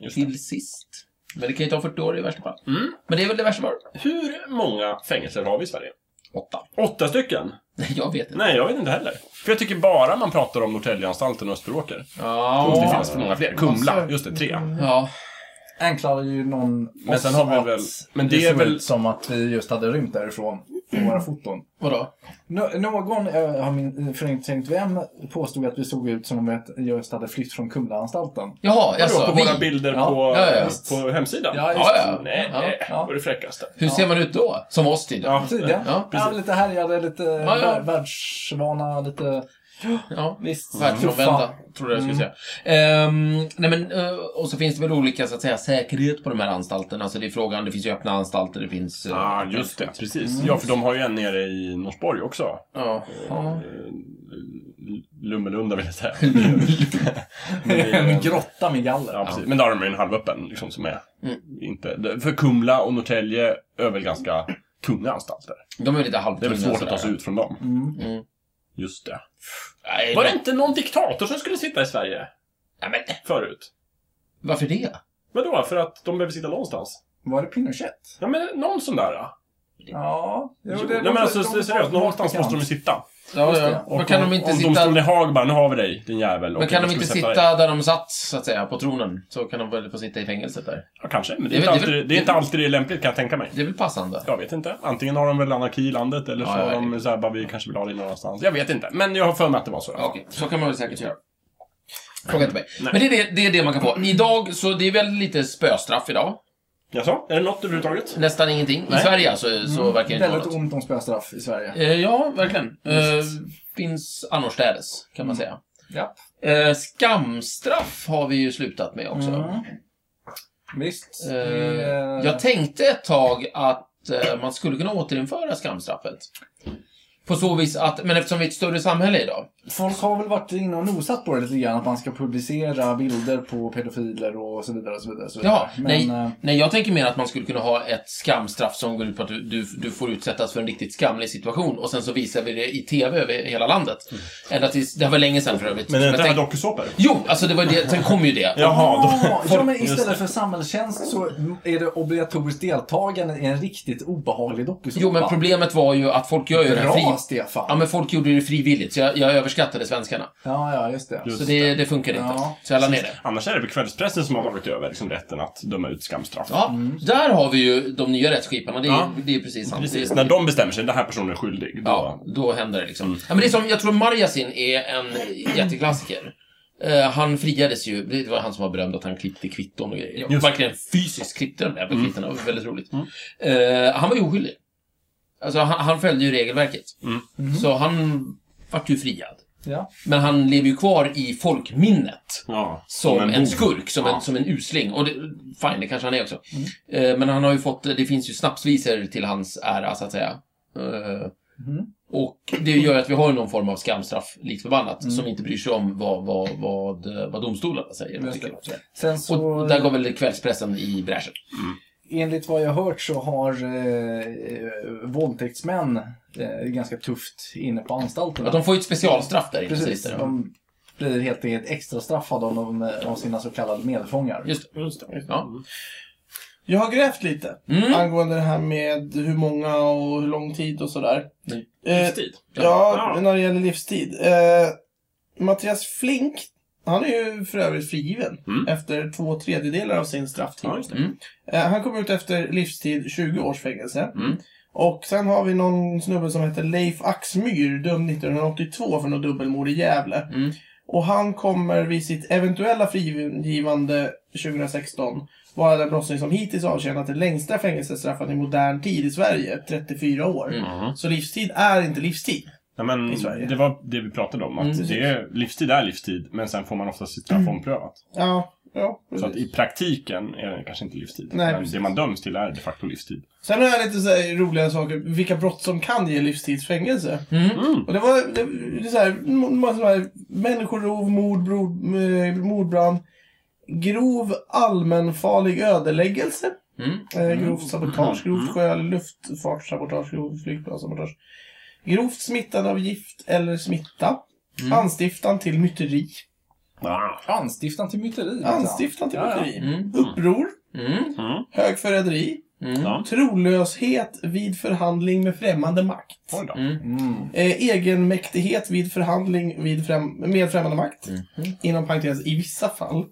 D: Just det.
B: Till sist. Men det kan ju ta 40 år i värsta fall.
D: Mm.
B: Men det är väl det värsta var?
D: Hur många fängelser har vi i Sverige?
B: Åtta.
D: Åtta stycken?
B: Nej, jag vet inte.
D: Nej, jag vet inte heller. För jag tycker bara man pratar om Norrtäljeanstalten och Österåker.
B: Ja.
D: Och Det finns för många fler. Kumla,
A: Alltså,
D: just det, tre.
B: Ja.
C: Anklagade ju någon
D: Men sen har vi väl- men det är
C: såg
D: väl-
C: ut som att vi just hade rymt därifrån på våra foton.
B: Vadå?
C: Nå- någon, jag har min förträngt vem, påstod att vi såg ut som om att jag just hade flytt från Kumlaanstalten.
B: Jaha, alltså
D: Vadå, på
B: vi.
D: våra bilder
C: Ja.
D: på,
B: Ja, ja, ja.
D: på hemsidan?
C: Ja,
B: Ja, ja.
D: Nej,
B: Ja,
D: det
C: ja.
D: var det fräckaste.
B: Hur ser man ut då? Som oss tydligen. Ja.
C: Tydligen.
B: Ja,
C: Ja,
D: precis.
C: lite härjade, lite
B: Ja, ja.
C: vär- världsvana, lite... Visst.
B: Världsfrånvända, Mm. tror jag jag skulle säga. Ehm, nej men, eh, och så finns det väl olika så att säga, säkerhet på de här anstalterna. Alltså det är frågan, det finns ju öppna anstalter, det finns... eh,
D: Ja, Ah, just det. Precis.
B: Mm.
D: Ja, för de har ju en nere i Norsborg också.
B: Ja.
D: Eh, Lummelunda vill jag säga. Men det är-
C: En grotta med galler.
D: Ja, precis. Men där har de ju en halvöppen, liksom, som är
B: Mm.
D: inte... För Kumla och Norrtälje är väl ganska tunga anstalter.
B: De är väl lite
D: Det är
B: halvtunga
D: väl svårt
B: sådär.
D: att ta sig ut från dem.
C: Mm.
B: Mm.
D: Just det.
B: Nej,
D: Var det
B: men-
D: inte någon diktator som skulle sitta i Sverige
B: Nej, men,
D: förut?
B: varför det?
D: Vadå? För att de behöver sitta någonstans?
C: Var det Pinochet?
D: Ja, men någon sån där. då.
C: Ja. Jo,
D: Nej, men alltså seriöst. Någonstans måste de ju sitta.
B: Ja,
C: Just det.
B: ja.
C: Och
B: Men kan de inte
D: Om domstolen i
B: sitta...
D: Haag bara, nu har vi dig, din jävel.
B: Men
D: Okej,
B: kan
D: då
B: de inte
D: ska vi sätta dig.
B: sitta där de satt, så att säga, på tronen? Så kan de väl få sitta i fängelset där.
D: Ja, kanske. Men det
B: Det
D: är,
B: är
D: inte
B: väl-
D: alltid,
B: det är väl-
D: det är inte alltid det är lämpligt, kan jag tänka mig.
B: Det är väl passande?
D: Jag vet inte. Antingen har de väl anarki i landet, eller så
B: Ja, ja,
D: har de
B: det-
D: så här, bara, vi kanske vill ha dig någonstans. Jag vet inte. Men jag har för mig att det var så.
B: Ja, Okej, så kan man väl säkert göra. Fråga inte mig.
D: Nej.
B: Men det är det, det är det man kan få. Idag, så det är väl lite spöstraff idag.
D: Jaså? Är det något överhuvudtaget?
B: Nästan ingenting.
D: Nej.
B: I Sverige alltså, så verkar det inte vara
C: Mm. Väldigt
B: något.
C: ont om spöstraff i Sverige.
B: Eh, ja, verkligen. Eh, finns annorstädes, kan man säga.
C: Mm. Ja.
B: Eh, skamstraff har vi ju slutat med också.
C: Visst.
B: Eh,
C: Mm. Det är-
B: Jag tänkte ett tag att eh, man skulle kunna återinföra skamstraffet. På så vis att, men eftersom vi är ett större samhälle idag.
C: Folk har väl varit inne och nosat på det lite grann, att man ska publicera bilder på pedofiler och så vidare. Och så vidare, och så vidare.
B: Ja,
C: Men,
B: nej,
C: eh,
B: nej, jag tänker mer att man skulle kunna ha ett skamstraff som går ut på att du, du, du får utsättas för en riktigt skamlig situation och sen så visar vi det i TV över hela landet. Ända tills, det här var länge sedan för övrigt.
D: Men är det inte
B: jag
D: alla
B: tänk-
D: dokusåpor?
B: Jo, alltså det var det, sen kom ju det.
D: Jaha, då...
C: Ja, ja, men
D: Just det.
C: istället för samhällstjänst så är det obligatoriskt deltagande i en riktigt obehaglig dokusåpa.
B: Jo, men problemet var ju att folk gör ju det här
C: Bra,
B: fri...
C: Stefan.
B: Ja, men folk gjorde det frivilligt, så jag, jag överskattade svenskarna.
C: Ja, ja, just det.
D: Just
B: Så det, det funkar inte.
C: Ja.
B: Så jag la ner det.
D: Annars är det väl kvällspressen som har varit över liksom, rätten att döma ut skamstraff.
B: Ja, där har vi ju de nya rättsskiparna. Det är,
D: Ja.
B: det är precis sant.
D: Precis.
B: Det-
D: När de bestämmer sig, den här personen är skyldig. Då...
B: Ja, då händer det liksom. Ja, men det är som, jag tror Marjasin är en jätteklassiker. Eh, han friades ju, det var han som var berömd att han klippte kvitton och grejer.
D: Just.
B: Verkligen fysiskt klippte de där på kvittona, det var väldigt roligt. Eh, han var ju oskyldig. Alltså han, han följde ju regelverket. Så han vart ju friad.
C: Ja.
B: Men han lever ju kvar i folkminnet.
D: Ja.
B: Som en,
D: bov.
B: skurk, som,
D: Ja.
B: en, som en usling. Och det, fine, det kanske han är också. Eh, men han har ju fått, det finns ju snapsvisor till hans ära, så att säga. Eh, Och det gör att vi har ju någon form av skamstraff, likt förbannat, som inte bryr sig om vad, vad, vad, eh, vad domstolarna säger.
C: Just
B: tycker
C: det.
B: jag.
C: Sen så,
B: Och där går väl kvällspressen i bräschen.
C: enligt vad jag hört så har eh, eh, våldtäktsmän eh, ganska tufft inne på anstalterna.
B: Att de får ju ett specialstraff där inne,
C: Precis,
B: sägs det.
C: de blir helt enkelt extra straffade om de, av sina så kallade medfångar.
B: Just det. Ja.
A: Jag har grävt lite
B: Mm.
A: angående det här med hur många och hur lång tid och sådär.
B: Nej.
A: Eh,
D: Livstid.
A: ja,
D: Ja.
A: när det gäller livstid. Eh, Mattias Flink, han är ju för övrigt frigiven
D: Mm.
A: efter två tredjedelar av sin strafftid.
D: Ja, just det.
B: Mm.
A: Eh, han kom ut efter livstid 20 års fängelse.
B: Mm.
A: Och sen har vi någon snubbe som heter Leif Axmyr, dömd 1982 för något dubbelmord i Gävle.
B: Mm.
A: Och han kommer vid sitt eventuella frigivande 2016 vara den brottsling som hittills avtjänat det längsta fängelsestraffet i modern tid i Sverige, 34 år.
D: Mm.
A: Så livstid är inte livstid.
D: Nej, men
A: I Sverige.
D: det var det vi pratade om. Att
B: Mm,
D: det är, livstid är livstid, men sen får man ofta sitt straff omprövat.
A: Ja, ja
D: Så att i
A: precis.
D: praktiken är det kanske inte livstid.
A: Nej,
D: men
A: precis.
D: det man döms till är de facto livstid.
A: Sen har jag lite så här roliga saker, vilka brott som kan ge livstidsfängelse.
B: Mm.
A: Och det var, det, det är så här, en massa så här, människorov, mord, brod, eh, mordbrand, grov allmänfarlig ödeläggelse.
B: Mm.
A: Eh, grovt sabotage, grovt sjö luftfartssabotage, grovt flygplanssabotage. Grovt smittande av gift eller smitta. Anstiftan till myteri.
D: Ah.
C: Anstiftan till myteri. liksom.
A: Anstiftan till
C: Ja, ja.
A: myteri.
B: Mm.
A: Uppror,
B: Mm.
D: Mm.
A: högförräderi,
B: Mm.
D: Ja.
A: trolöshet vid förhandling med främmande makt.
D: Oj då.
B: Mm.
C: Mm.
A: Eh, egenmäktighet vid förhandling vid främ med främmande makt. Inom parentes, i vissa fall.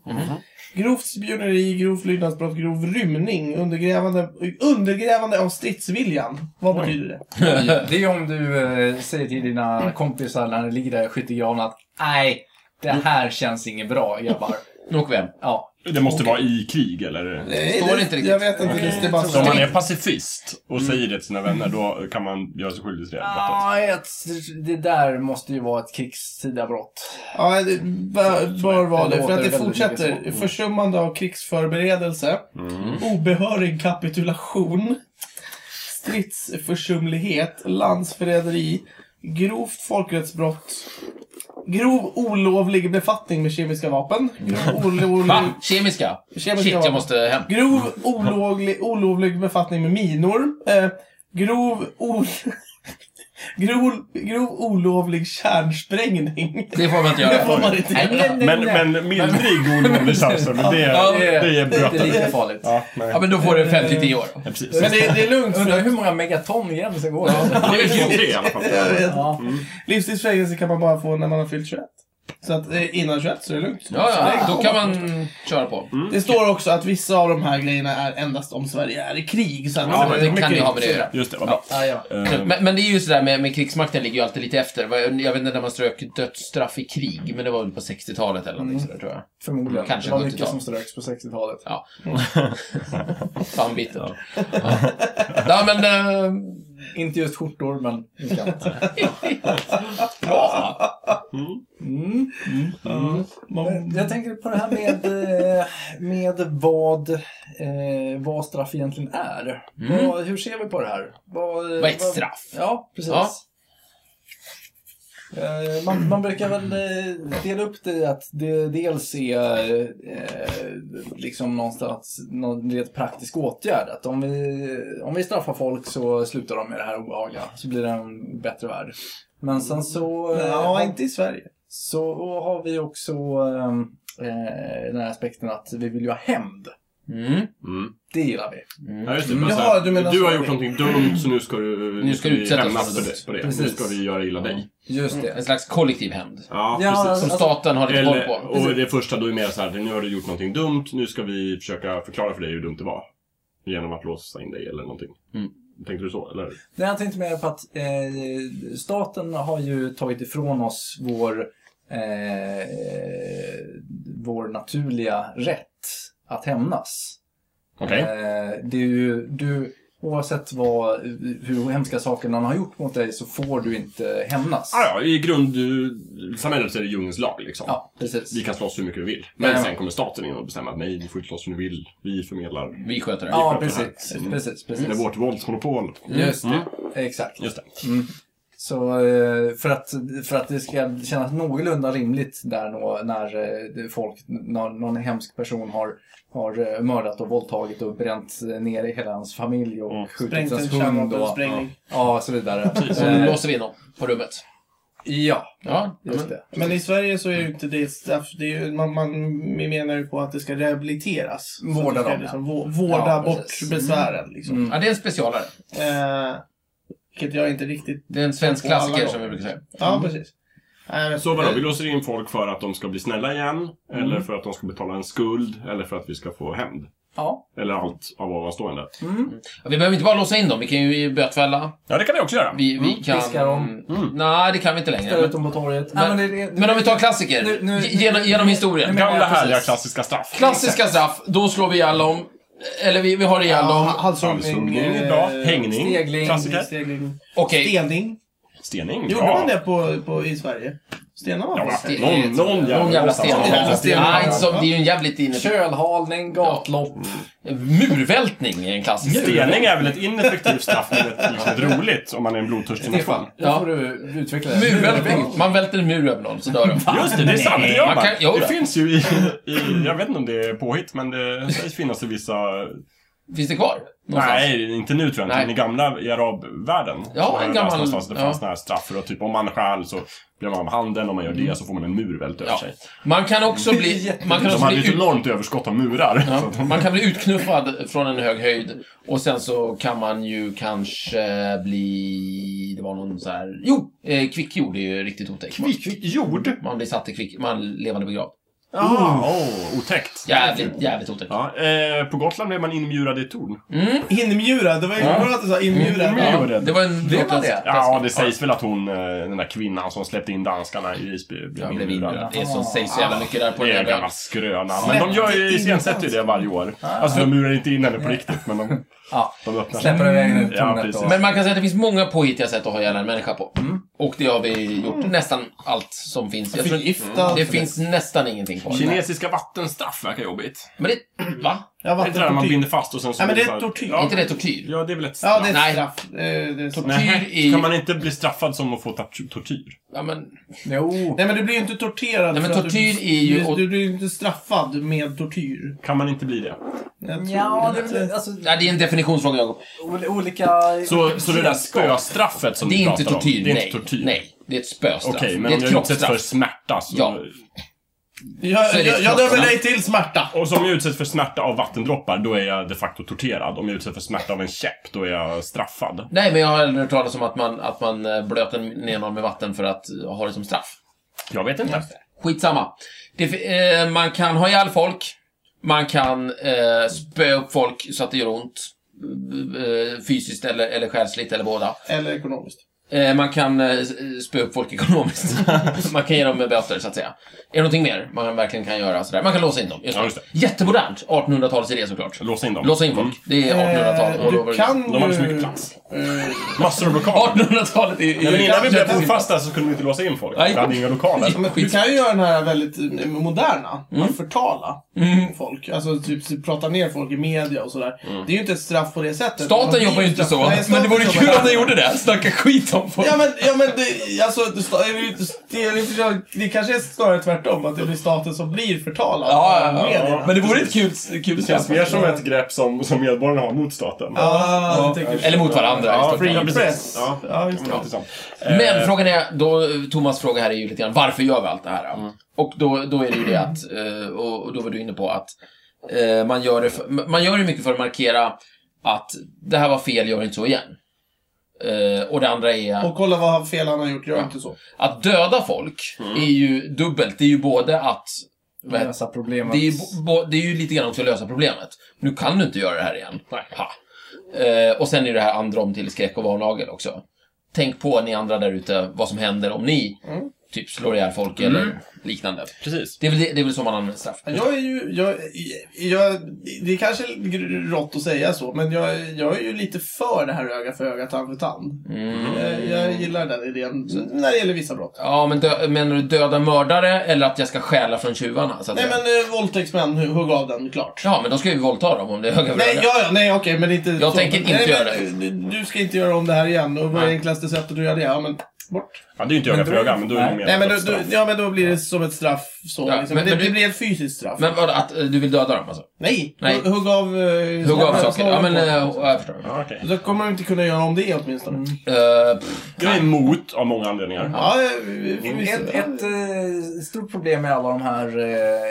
A: Grovt spioneri, grovt lydnadsbrott, grov rymning, undergrävande, undergrävande av stridsviljan. Vad betyder det?
C: Det är om du eh, säger till dina kompisar när ni ligger där i skyttegraven att nej, det här känns inget bra grabbar.
B: Och vem?
C: Ja.
D: Det måste vara i krig, eller?
A: Nej,
B: Står det inte riktigt.
A: Jag vet inte, det är bara
D: Så Alltså, om man
A: strid.
D: är pacifist och säger det till sina vänner, då kan man göra sig skyldig till det.
C: Ah, ett, det där måste ju vara ett krigstida brott.
A: Ja, det bör, bör vara det. För att det
C: låter väldigt
A: fortsätter.
C: mycket så. Mm.
A: Försummande av krigsförberedelse. Obehörig kapitulation. Stridsförsumlighet. Landsförräderi. Grovt folkrättsbrott. Grov olovlig befattning med kemiska vapen. Grov olovlig,
B: Va? Kemiska?
A: Kemiska
B: Shit, jag
A: vapen.
B: måste hem.
A: grov olovlig, olovlig befattning med minor. Eh, grov, o, grov, grov olovlig kärnsprängning.
B: Det får man inte
A: Det får
B: göra.
A: man inte
B: Nej,
A: göra.
D: Men, men mildrig olovlig samsyn, men det
B: Ja.
D: är, det är
C: Det är inte
D: böter.
C: lika farligt.
D: Ja, nej.
B: Ja, men då får du 50-10 år.
D: Ja, precis.
A: Men det, det är lugnt. för
C: Undrar
A: att-
C: hur många megaton igen som går.
D: Det är två, tre i alla fall.
A: Jag vet.
C: Ja.
A: Livstids fängelse kan man bara få när man har fyllt 21. Så att eh, innan 21 så är Mm. det lugnt.
B: Ja, ja, då kan man köra på.
A: Det står också att vissa av de här grejerna är endast om Sverige är i krig. Så att
B: Ja, men det
A: mycket
B: kan ju ha med det att
A: riktigt.
B: göra.
D: Just det, vad bra.
C: Ja, ja.
D: Eh,
B: Men, men det är ju sådär med, med krigsmakten ligger ju alltid lite efter. Vad- Jag vet inte när man strök dödsstraff i krig, men det var väl på 60-talet eller någonting sådär tror jag.
C: Förmodligen.
B: Kanske
C: det var
B: 70-tal.
C: mycket som ströks på 60-talet.
B: Ja. Fan bittert. Ja. ja, men... eh,
C: Inte just skjortor, men mycket annat.
B: bra.
C: Mm.
A: Ja. Man-
C: Jag tänker på det här med, eh, med vad, eh, vad straff egentligen är.
B: Mm.
C: Vad, hur ser vi på det här? Vad,
B: Vad är ett straff?
C: Ja, precis.
B: Ja.
C: Eh, Man, man brukar väl eh, dela upp det i att det dels är eh, liksom någonstans någon rent praktisk åtgärd. Att om vi, om vi straffar folk så slutar de med det här obehagliga. Så blir det en bättre värld. Men sen så... eh,
A: Ja, inte i Sverige.
C: så har vi också ehm, eh, den här aspekten att vi vill ju ha hämnd.
B: Mm.
D: Mm.
C: Det gillar vi.
D: Ja, just det.
A: Mm.
D: Men så
A: Jaha,
D: här,
A: du menar
D: du har
A: så.
D: gjort någonting dumt, så nu ska du,
B: Nu ska du
D: vi
B: utsättas
D: hämnas
B: för
D: för
B: det.
D: det. På det. Nu
C: Precis.
D: ska vi göra illa dig.
C: Just
B: En
C: det.
B: slags kollektiv hämnd.
D: Ja,
C: Ja,
D: precis.
B: Som
C: Alltså-
B: staten har lite koll
D: Eller,
B: på.
D: och det första då är mer så här, nu har du gjort någonting dumt, nu ska vi försöka förklara för dig hur dumt det var. Genom att låsa in dig eller någonting.
B: Mm.
D: Tänkte du så, eller?
C: Nej, jag tänkte mer på att eh, staten har ju tagit ifrån oss vår, eh, vår naturliga rätt att hämnas.
D: Okej.
C: Eh, det är ju, du, oavsett vad, hur hemska saker någon har gjort mot dig så får du inte hämnas.
D: Ah, ja, i grundsamhället så är det djungens lag liksom.
C: Ja, precis.
D: Vi kan slåss hur mycket vi vill. Men
C: Jajamän.
D: sen kommer staten in och bestämmer att nej, ni får inte slåss hur ni vill. Vi förmedlar.
B: Vi sköter det.
C: Ja,
D: Vi pratar
C: precis. precis, precis.
D: Det är Mm. vårt våldsmonopol.
C: Just det. Exakt.
D: Just det.
C: Så eh, för att, för att det ska kännas någorlunda rimligt där nå, när eh, det- folk, när någon hemsk person har, har eh, mördat och våldtagit och bränt ner i hela hans familj och
D: Mm.
C: skjutit
A: Sprängt en
C: hans hund och,
A: kärnvapensprängning.
C: ja, och så vidare.
B: Och nu
C: Eh,
B: låser vi in dem på rummet.
C: ja,
B: Ja,
C: just
B: men,
C: det.
A: Men i Sverige så är ju inte det straff. Det är ju, man, man menar ju på att det ska rehabiliteras. Så
C: Vårda
A: det ska
C: dem,
A: liksom, vå- Vårda
C: Ja,
A: bort
C: precis.
A: besvären. Liksom.
C: Mm.
B: ja, det är en specialare.
A: Eh, vilket jag inte riktigt...
B: Det är en svensk
A: På alla
B: klassiker
A: dem.
B: som vi brukar säga.
A: Ja,
C: Mm.
A: precis. Eh, Nej, men-
D: Så vadå, vi låser in folk för att de ska bli snälla igen. Eller för att de ska betala en skuld. Eller för att vi ska få hämnd.
C: Ja.
D: Eller allt av ovanstående.
C: Mm.
B: Ja, Vi behöver inte bara låsa in dem, vi kan ju bötfälla.
D: Ja, det kan jag också göra.
B: Vi, vi kan...
C: Mm, Piska dem.
D: Mm.
B: Nej, det kan vi inte längre.
C: Ställa ut
B: Men,
C: dem på torget.
B: men-
C: Nej, det- det-
B: men om vi tar klassiker.
C: Nu- nu-
B: Ge- genom, genom historien.
C: Nu- nu-
D: Gamla
C: Ja, precis.
D: härliga klassiska straff.
B: Klassiska straff, då slår vi ihjäl dem. Eller vi, vi har ihjäl
A: Ja,
B: dem.
A: halshuggning.
D: Halshuggning är
A: eh,
D: bra. Hängning.
C: stegling,
D: Klassiker.
A: Stegling.
B: Okej.
A: Stening.
D: Stening.
A: Gjorde
D: bra.
A: man det på, på, i Sverige? Stenar man
D: Ja,
A: folk?
B: Ste-
D: någon, någon jävla,
B: Någon jävla sten.
D: någonstans.
A: Jävla sten.
B: Nej, inte som, det är ju en jävligt inne...
C: Kölhalning, gatlopp.
B: Murvältning är en klassiker.
D: Stening är väl ett ineffektivt straff, men ett, liksom, ett roligt om man är en blodtörstig
C: Stefan,
D: nation.
C: nu
B: Ja.
C: får du utveckla det.
B: Murvältning. Man välter en mur över någon, så dör de.
D: Just det, det är sant. Det gör
B: Man
D: man.
B: kan- jo
D: det
B: då.
D: finns ju i, i... Jag vet inte om det är påhitt, men det sägs finnas i vissa
B: Finns det kvar? någonstans?
D: Nej, inte nu tror jag
B: Nej.
D: inte. Men i gamla i arabvärlden.
B: Ja,
D: så har
B: en
D: jag läst
B: gammal-
D: Någonstans det
B: ja.
D: fanns ja. här straff för att typ om man stjäl så blir man av med handen. Om man gör det så får man en mur vält över
B: Mm. Ja.
D: sig.
B: Man kan också bli... Man kan
D: De
B: också
D: hade
B: bli
D: ju ett
B: ut...
D: enormt överskott av murar. Så
B: Ja,
D: att-
B: man kan bli utknuffad från en hög höjd och sen så kan man ju kanske bli... Det var någon så här... Jo! Eh, kvickjord är ju riktigt otäckt.
D: Kvickjord?
B: Man blir satt i kvick... Man levande begravd.
D: Ah, oh, otäckt.
B: Jävligt, jävligt otäckt.
D: Ja, eh, på Gotland blev man inmurad i ett torn.
A: Inmjurad. Det var ju bra att du sa inmjurad.
D: Mm.
A: Ja.
B: Ja, det var en...
C: Blev man det?
D: Ja, det sägs väl att hon, eh, den där kvinnan som släppte in danskarna i Visby, blev
B: Jag blev
D: inmurad.
B: inbjuden. Det är som sägs så jävla mycket där på
D: Det är
B: den
D: en
B: där
D: gammal skröna. Men de gör ju,
A: Släppte in
D: iscensätter ju det varje år. Alltså de murar inte in henne på riktigt, men de,
C: Ja.
D: de öppnar.
C: Släpper iväg den ut
D: Ja,
C: tornet
D: precis.
C: och...
B: Men man kan säga att det finns många påhittiga sätt att ha ihjäl en människa på.
D: Mm.
B: Och det har vi gjort nästan allt som finns. Jag tror Mm.
A: Förgifta.
B: det finns nästan ingenting kvar.
D: Kinesiska vattenstraff verkar jobbigt.
B: Men det... Va?
A: Ja,
D: Är det inte det där man
A: vattentortyr.
D: binder fast och sen så...
A: Ja, men det är
D: så här-
A: tortyr.
B: Är
D: Ja,
B: inte det tortyr?
D: ja, det är väl ett straff.
A: Ja, det är
B: Nej.
A: ett straff. Eh, det är sant.
B: Nej.
D: Nähä,
B: tortyr i-
D: Kan man inte bli straffad som att få tor- tortyr?
B: Ja, men...
C: Jo.
A: Nej men du blir ju inte torterad.
B: Nej, men
A: för att
B: tortyr
A: du,
B: är ju-
A: Du, du blir ju inte straffad med tortyr.
D: Kan man inte bli det?
A: Jag tror
C: Ja, det
A: inte.
C: är väl- alltså,
B: Nej, det är en definitionsfråga, Jakob.
C: ol- olika...
D: Så, så det där
C: redskap.
D: spöstraffet som
B: Det är
D: du
B: inte
D: pratar
B: tortyr.
D: om, det är
B: nej.
D: inte tortyr?
B: Nej, det är ett spöstraff.
D: Okej,
B: det
D: men
B: är
D: om
B: ett
D: jag utsätts för
B: kroppsstraff.
D: smärta så...
B: Ja.
A: Jag,
B: Så är
A: jag,
B: det
A: jag,
B: klart,
A: dömer
B: va?
A: dig till smärta.
D: Och som jag utsätts för smärta av vattendroppar, då är jag de facto torterad. Om jag utsätts för smärta av en käpp, då är jag straffad.
B: Nej, men jag har aldrig hört talas om att man, att man eh, blöter ner någon med vatten för att eh, ha det som straff.
D: Jag vet inte.
B: Skitsamma. Det, fi- eh, man kan ha ihjäl folk. Man kan eh, spöa upp folk så att det gör ont. Eh, fysiskt eller, eller själsligt eller båda.
A: Eller ekonomiskt.
B: Eh, man kan eh, s- spöa upp folk ekonomiskt. man kan ge dem med böter, så att säga. Är det någonting mer man verkligen kan göra? Sådär? Man kan låsa in dem. Just
D: Ja, just det.
B: Jättemodernt. 1800-talsidé såklart.
D: Låsa in dem. Mm.
B: Låsa in folk. Det är 1800-tal. all
A: Eh,
B: over
A: du
B: again.
A: kan
D: De hade så
A: ju-
D: mycket plats.
A: eh,
D: Massor av lokaler.
B: 1800-talet i... i-
D: Nej, men innan vi blev
B: Jättemodernt.
D: bofasta så kunde vi inte låsa in folk.
B: Nej.
D: Vi hade inga lokaler.
A: Ja, Alltså, men du kan ju göra den här väldigt eh, moderna.
B: Mm.
A: Att förtala folk. Alltså typ så- prata ner folk i media och sådär. Det är ju inte ett straff på det sättet. Man
B: Mm. Staten
A: blir
B: jobbar ju inte så.
A: straffad. Nej,
B: men det
A: staten
B: vore
A: jobbar
B: kul
A: inte
B: om den
A: så.
B: gjorde det. Snacka skit om folk.
A: Ja men, ja, men det, alltså, det, sta- det, är ju- det, är ju- det kanske är snarare tvärtom. Att det blir staten som blir förtalad.
B: Ja,
A: av
B: ja,
A: medierna.
B: ja. Men det vore ett kul, kul
D: Det känns mer som ett grepp som, som medborgarna har mot staten.
A: Ja,
B: Ja.
A: jag tänker-
B: Eller mot varandra. i
D: Ja, Eh.
B: stort
D: free
B: sett.
D: precis.
A: press.
D: Ja.
A: Ja, just det.
D: Ja, intressant.
B: Men frågan är, då, Thomas fråga här är ju lite grann, varför gör vi allt det här?
D: Mm.
B: Och då, då är det ju det att, eh, och och då var du inne på att eh, man gör det, för, man gör det mycket för att markera att det här var fel, gör inte så igen. Eh, Och det andra är
A: Och kolla vad fel han har gjort, gör inte så.
B: att döda folk
A: Mm.
B: är ju dubbelt. Det är ju både att vad heter-
C: Lösa problemet.
B: det är, ju bo- bo- det är ju lite grann också att lösa problemet. Nu kan du inte göra det här igen. Ha. Eh, och sen är det här andra om till skräck och varnagel också. Tänk på ni andra där ute vad som händer om ni typ slår ihjäl folk
A: Mm.
B: eller liknande.
D: Precis.
B: Det är, väl, det är väl så man använder straff.
A: Jag är ju, jag, jag, det är kanske är rått att säga så, men jag, jag är ju lite för det här öga för öga, tand för tand. Eh, Jag gillar den idén, så- när det gäller vissa brott.
B: Mm. Ja, men dö- menar du döda mördare eller att jag ska stjäla från tjuvarna? Så att
A: Nej
B: säga?
A: men eh, våldtäktsmän, hu- hugg av den, klart.
B: Ja, men då ska vi våldta dem om det är höga
A: Nej,
B: bröder.
A: ja, ja, nej okej, men inte
B: Jag tänker inte
A: nej,
B: göra
A: men, Du du ska inte göra om det här igen, och vad är
B: Nej.
A: enklaste sättet att göra det? Ja, men bort.
D: Ja, det är ju inte öga för öga, men då är det mer
A: Nej, men då,
D: ett
A: då,
D: straff.
A: ja, men då blir det som ett straff så,
B: Ja,
A: liksom.
B: men-
A: men, det,
B: men du-
A: det blir ett fysiskt straff.
B: Men vadå, att eh, du vill döda dem alltså?
A: nej,
B: Nej.
A: hu- hugg av... eh,
B: Hugga av
A: snabba-
B: saker? Ja,
A: snabba
B: men
A: på.
B: eh, jag förstår.
D: Ja, okej.
A: Då kommer de inte kunna göra om det åtminstone.
B: Eh, pff,
D: Jag är emot av många anledningar.
A: Ja, vi- vi- vi-
C: Ett, ett eh, stort problem med alla de här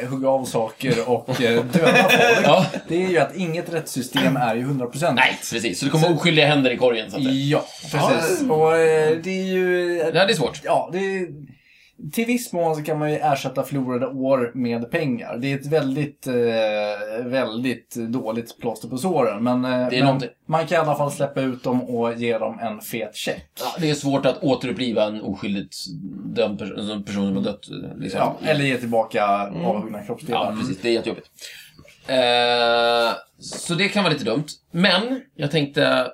C: eh, hugga av saker och eh, döda folk,
B: Ja.
C: det är ju att inget rättssystem är ju 100%.
B: nej, precis. Så det kommer oskyldiga händer i korgen, så att säga.
C: Ja, precis. Och eh, det är ju...
B: Ja, det är svårt.
C: Ja, det är, till viss mån så kan man ju ersätta förlorade år med pengar. Det är ett väldigt, eh, väldigt dåligt plåster på såren. Men, eh, men
B: någonting.
C: man kan i alla fall släppa ut dem och ge dem en fet check.
B: Ja, det är svårt att återuppliva en oskyldigt dömd pers- en person som har dött. Liksom.
C: Ja, eller ge tillbaka avhuggna
B: Ja,
C: kroppsdelar.
B: precis. Det är jättejobbigt. Eh, så det kan vara lite dumt. Men, jag tänkte...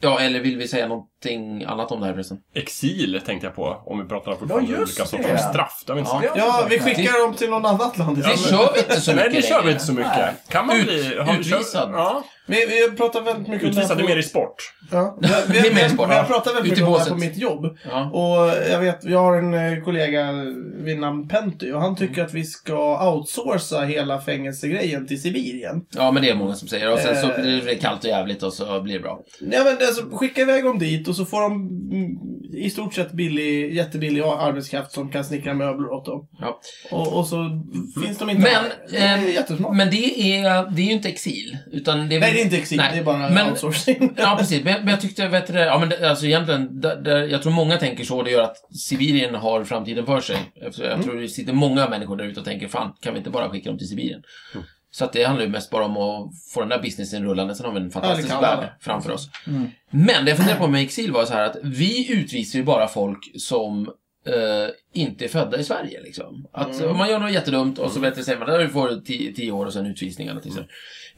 B: Ja, eller vill vi säga något någonting annat om det här förresten?
D: Exil tänkte jag på, om vi pratar fortfarande om
C: just
D: olika sorter
C: det.
D: av straff. Det har vi inte
B: Ja.
A: Ja,
D: sagt.
A: vi skickar dem till något annat land
B: Det
A: istället.
B: kör vi inte så
D: Nej,
B: mycket
D: det kör vi
B: längre.
D: inte så mycket. Kan man
B: Ut-
D: bli... har vi kört-
B: utvisad.
D: Ja.
A: Vi, vi pratar väldigt mycket om det här
D: Utvisad är
A: på-
D: mer i sport.
A: Ja. Vi, vi,
B: Det är
A: vi,
B: mer sport,
A: vi
B: ja.
A: har pratat väldigt
B: Ut i
A: mycket om det här
B: båset.
A: på mitt jobb.
B: Ja.
A: Och jag vet, jag har en eh, kollega vid namn Penty och han tycker att vi ska outsourca hela fängelsegrejen till Sibirien.
B: ja, men det är många som säger. Och sen så
A: Eh.
B: blir det kallt och jävligt och så blir det bra.
A: Ja, men alltså, skicka iväg dem dit och så får de mm, i stort sett billig, jättebillig arbetskraft som kan snickra möbler åt dem.
B: Ja.
A: Och, och så finns de inte
B: Men,
A: Det är
B: ehm,
A: jättesmart.
B: men det, är, det är ju inte exil. Utan det är, väl-
A: Nej, det är inte exil.
B: Nej,
A: Det är bara
B: men-
A: outsourcing.
B: Ja, precis. Men jag, men jag tyckte, vet du, det, ja, men det, alltså egentligen, där, där, jag tror många tänker så. Det gör att Sibirien har framtiden för sig. Efter- Jag tror det sitter många människor där ute och tänker, fan, kan vi inte bara skicka dem till Sibirien? Så att det handlar ju mest bara om att få den där businessen rullande. Sen har vi en fantastisk
A: Ja, det Mm. kan
B: värld
A: man.
B: framför oss. Men det jag funderar på med exil var så här att vi utvisar ju bara folk som eh, inte är födda i Sverige. Liksom. Att
A: Mm.
B: om man gör något jättedumt och så vet jag, säger man där får du tio, tio år och sen utvisning. Eller mm.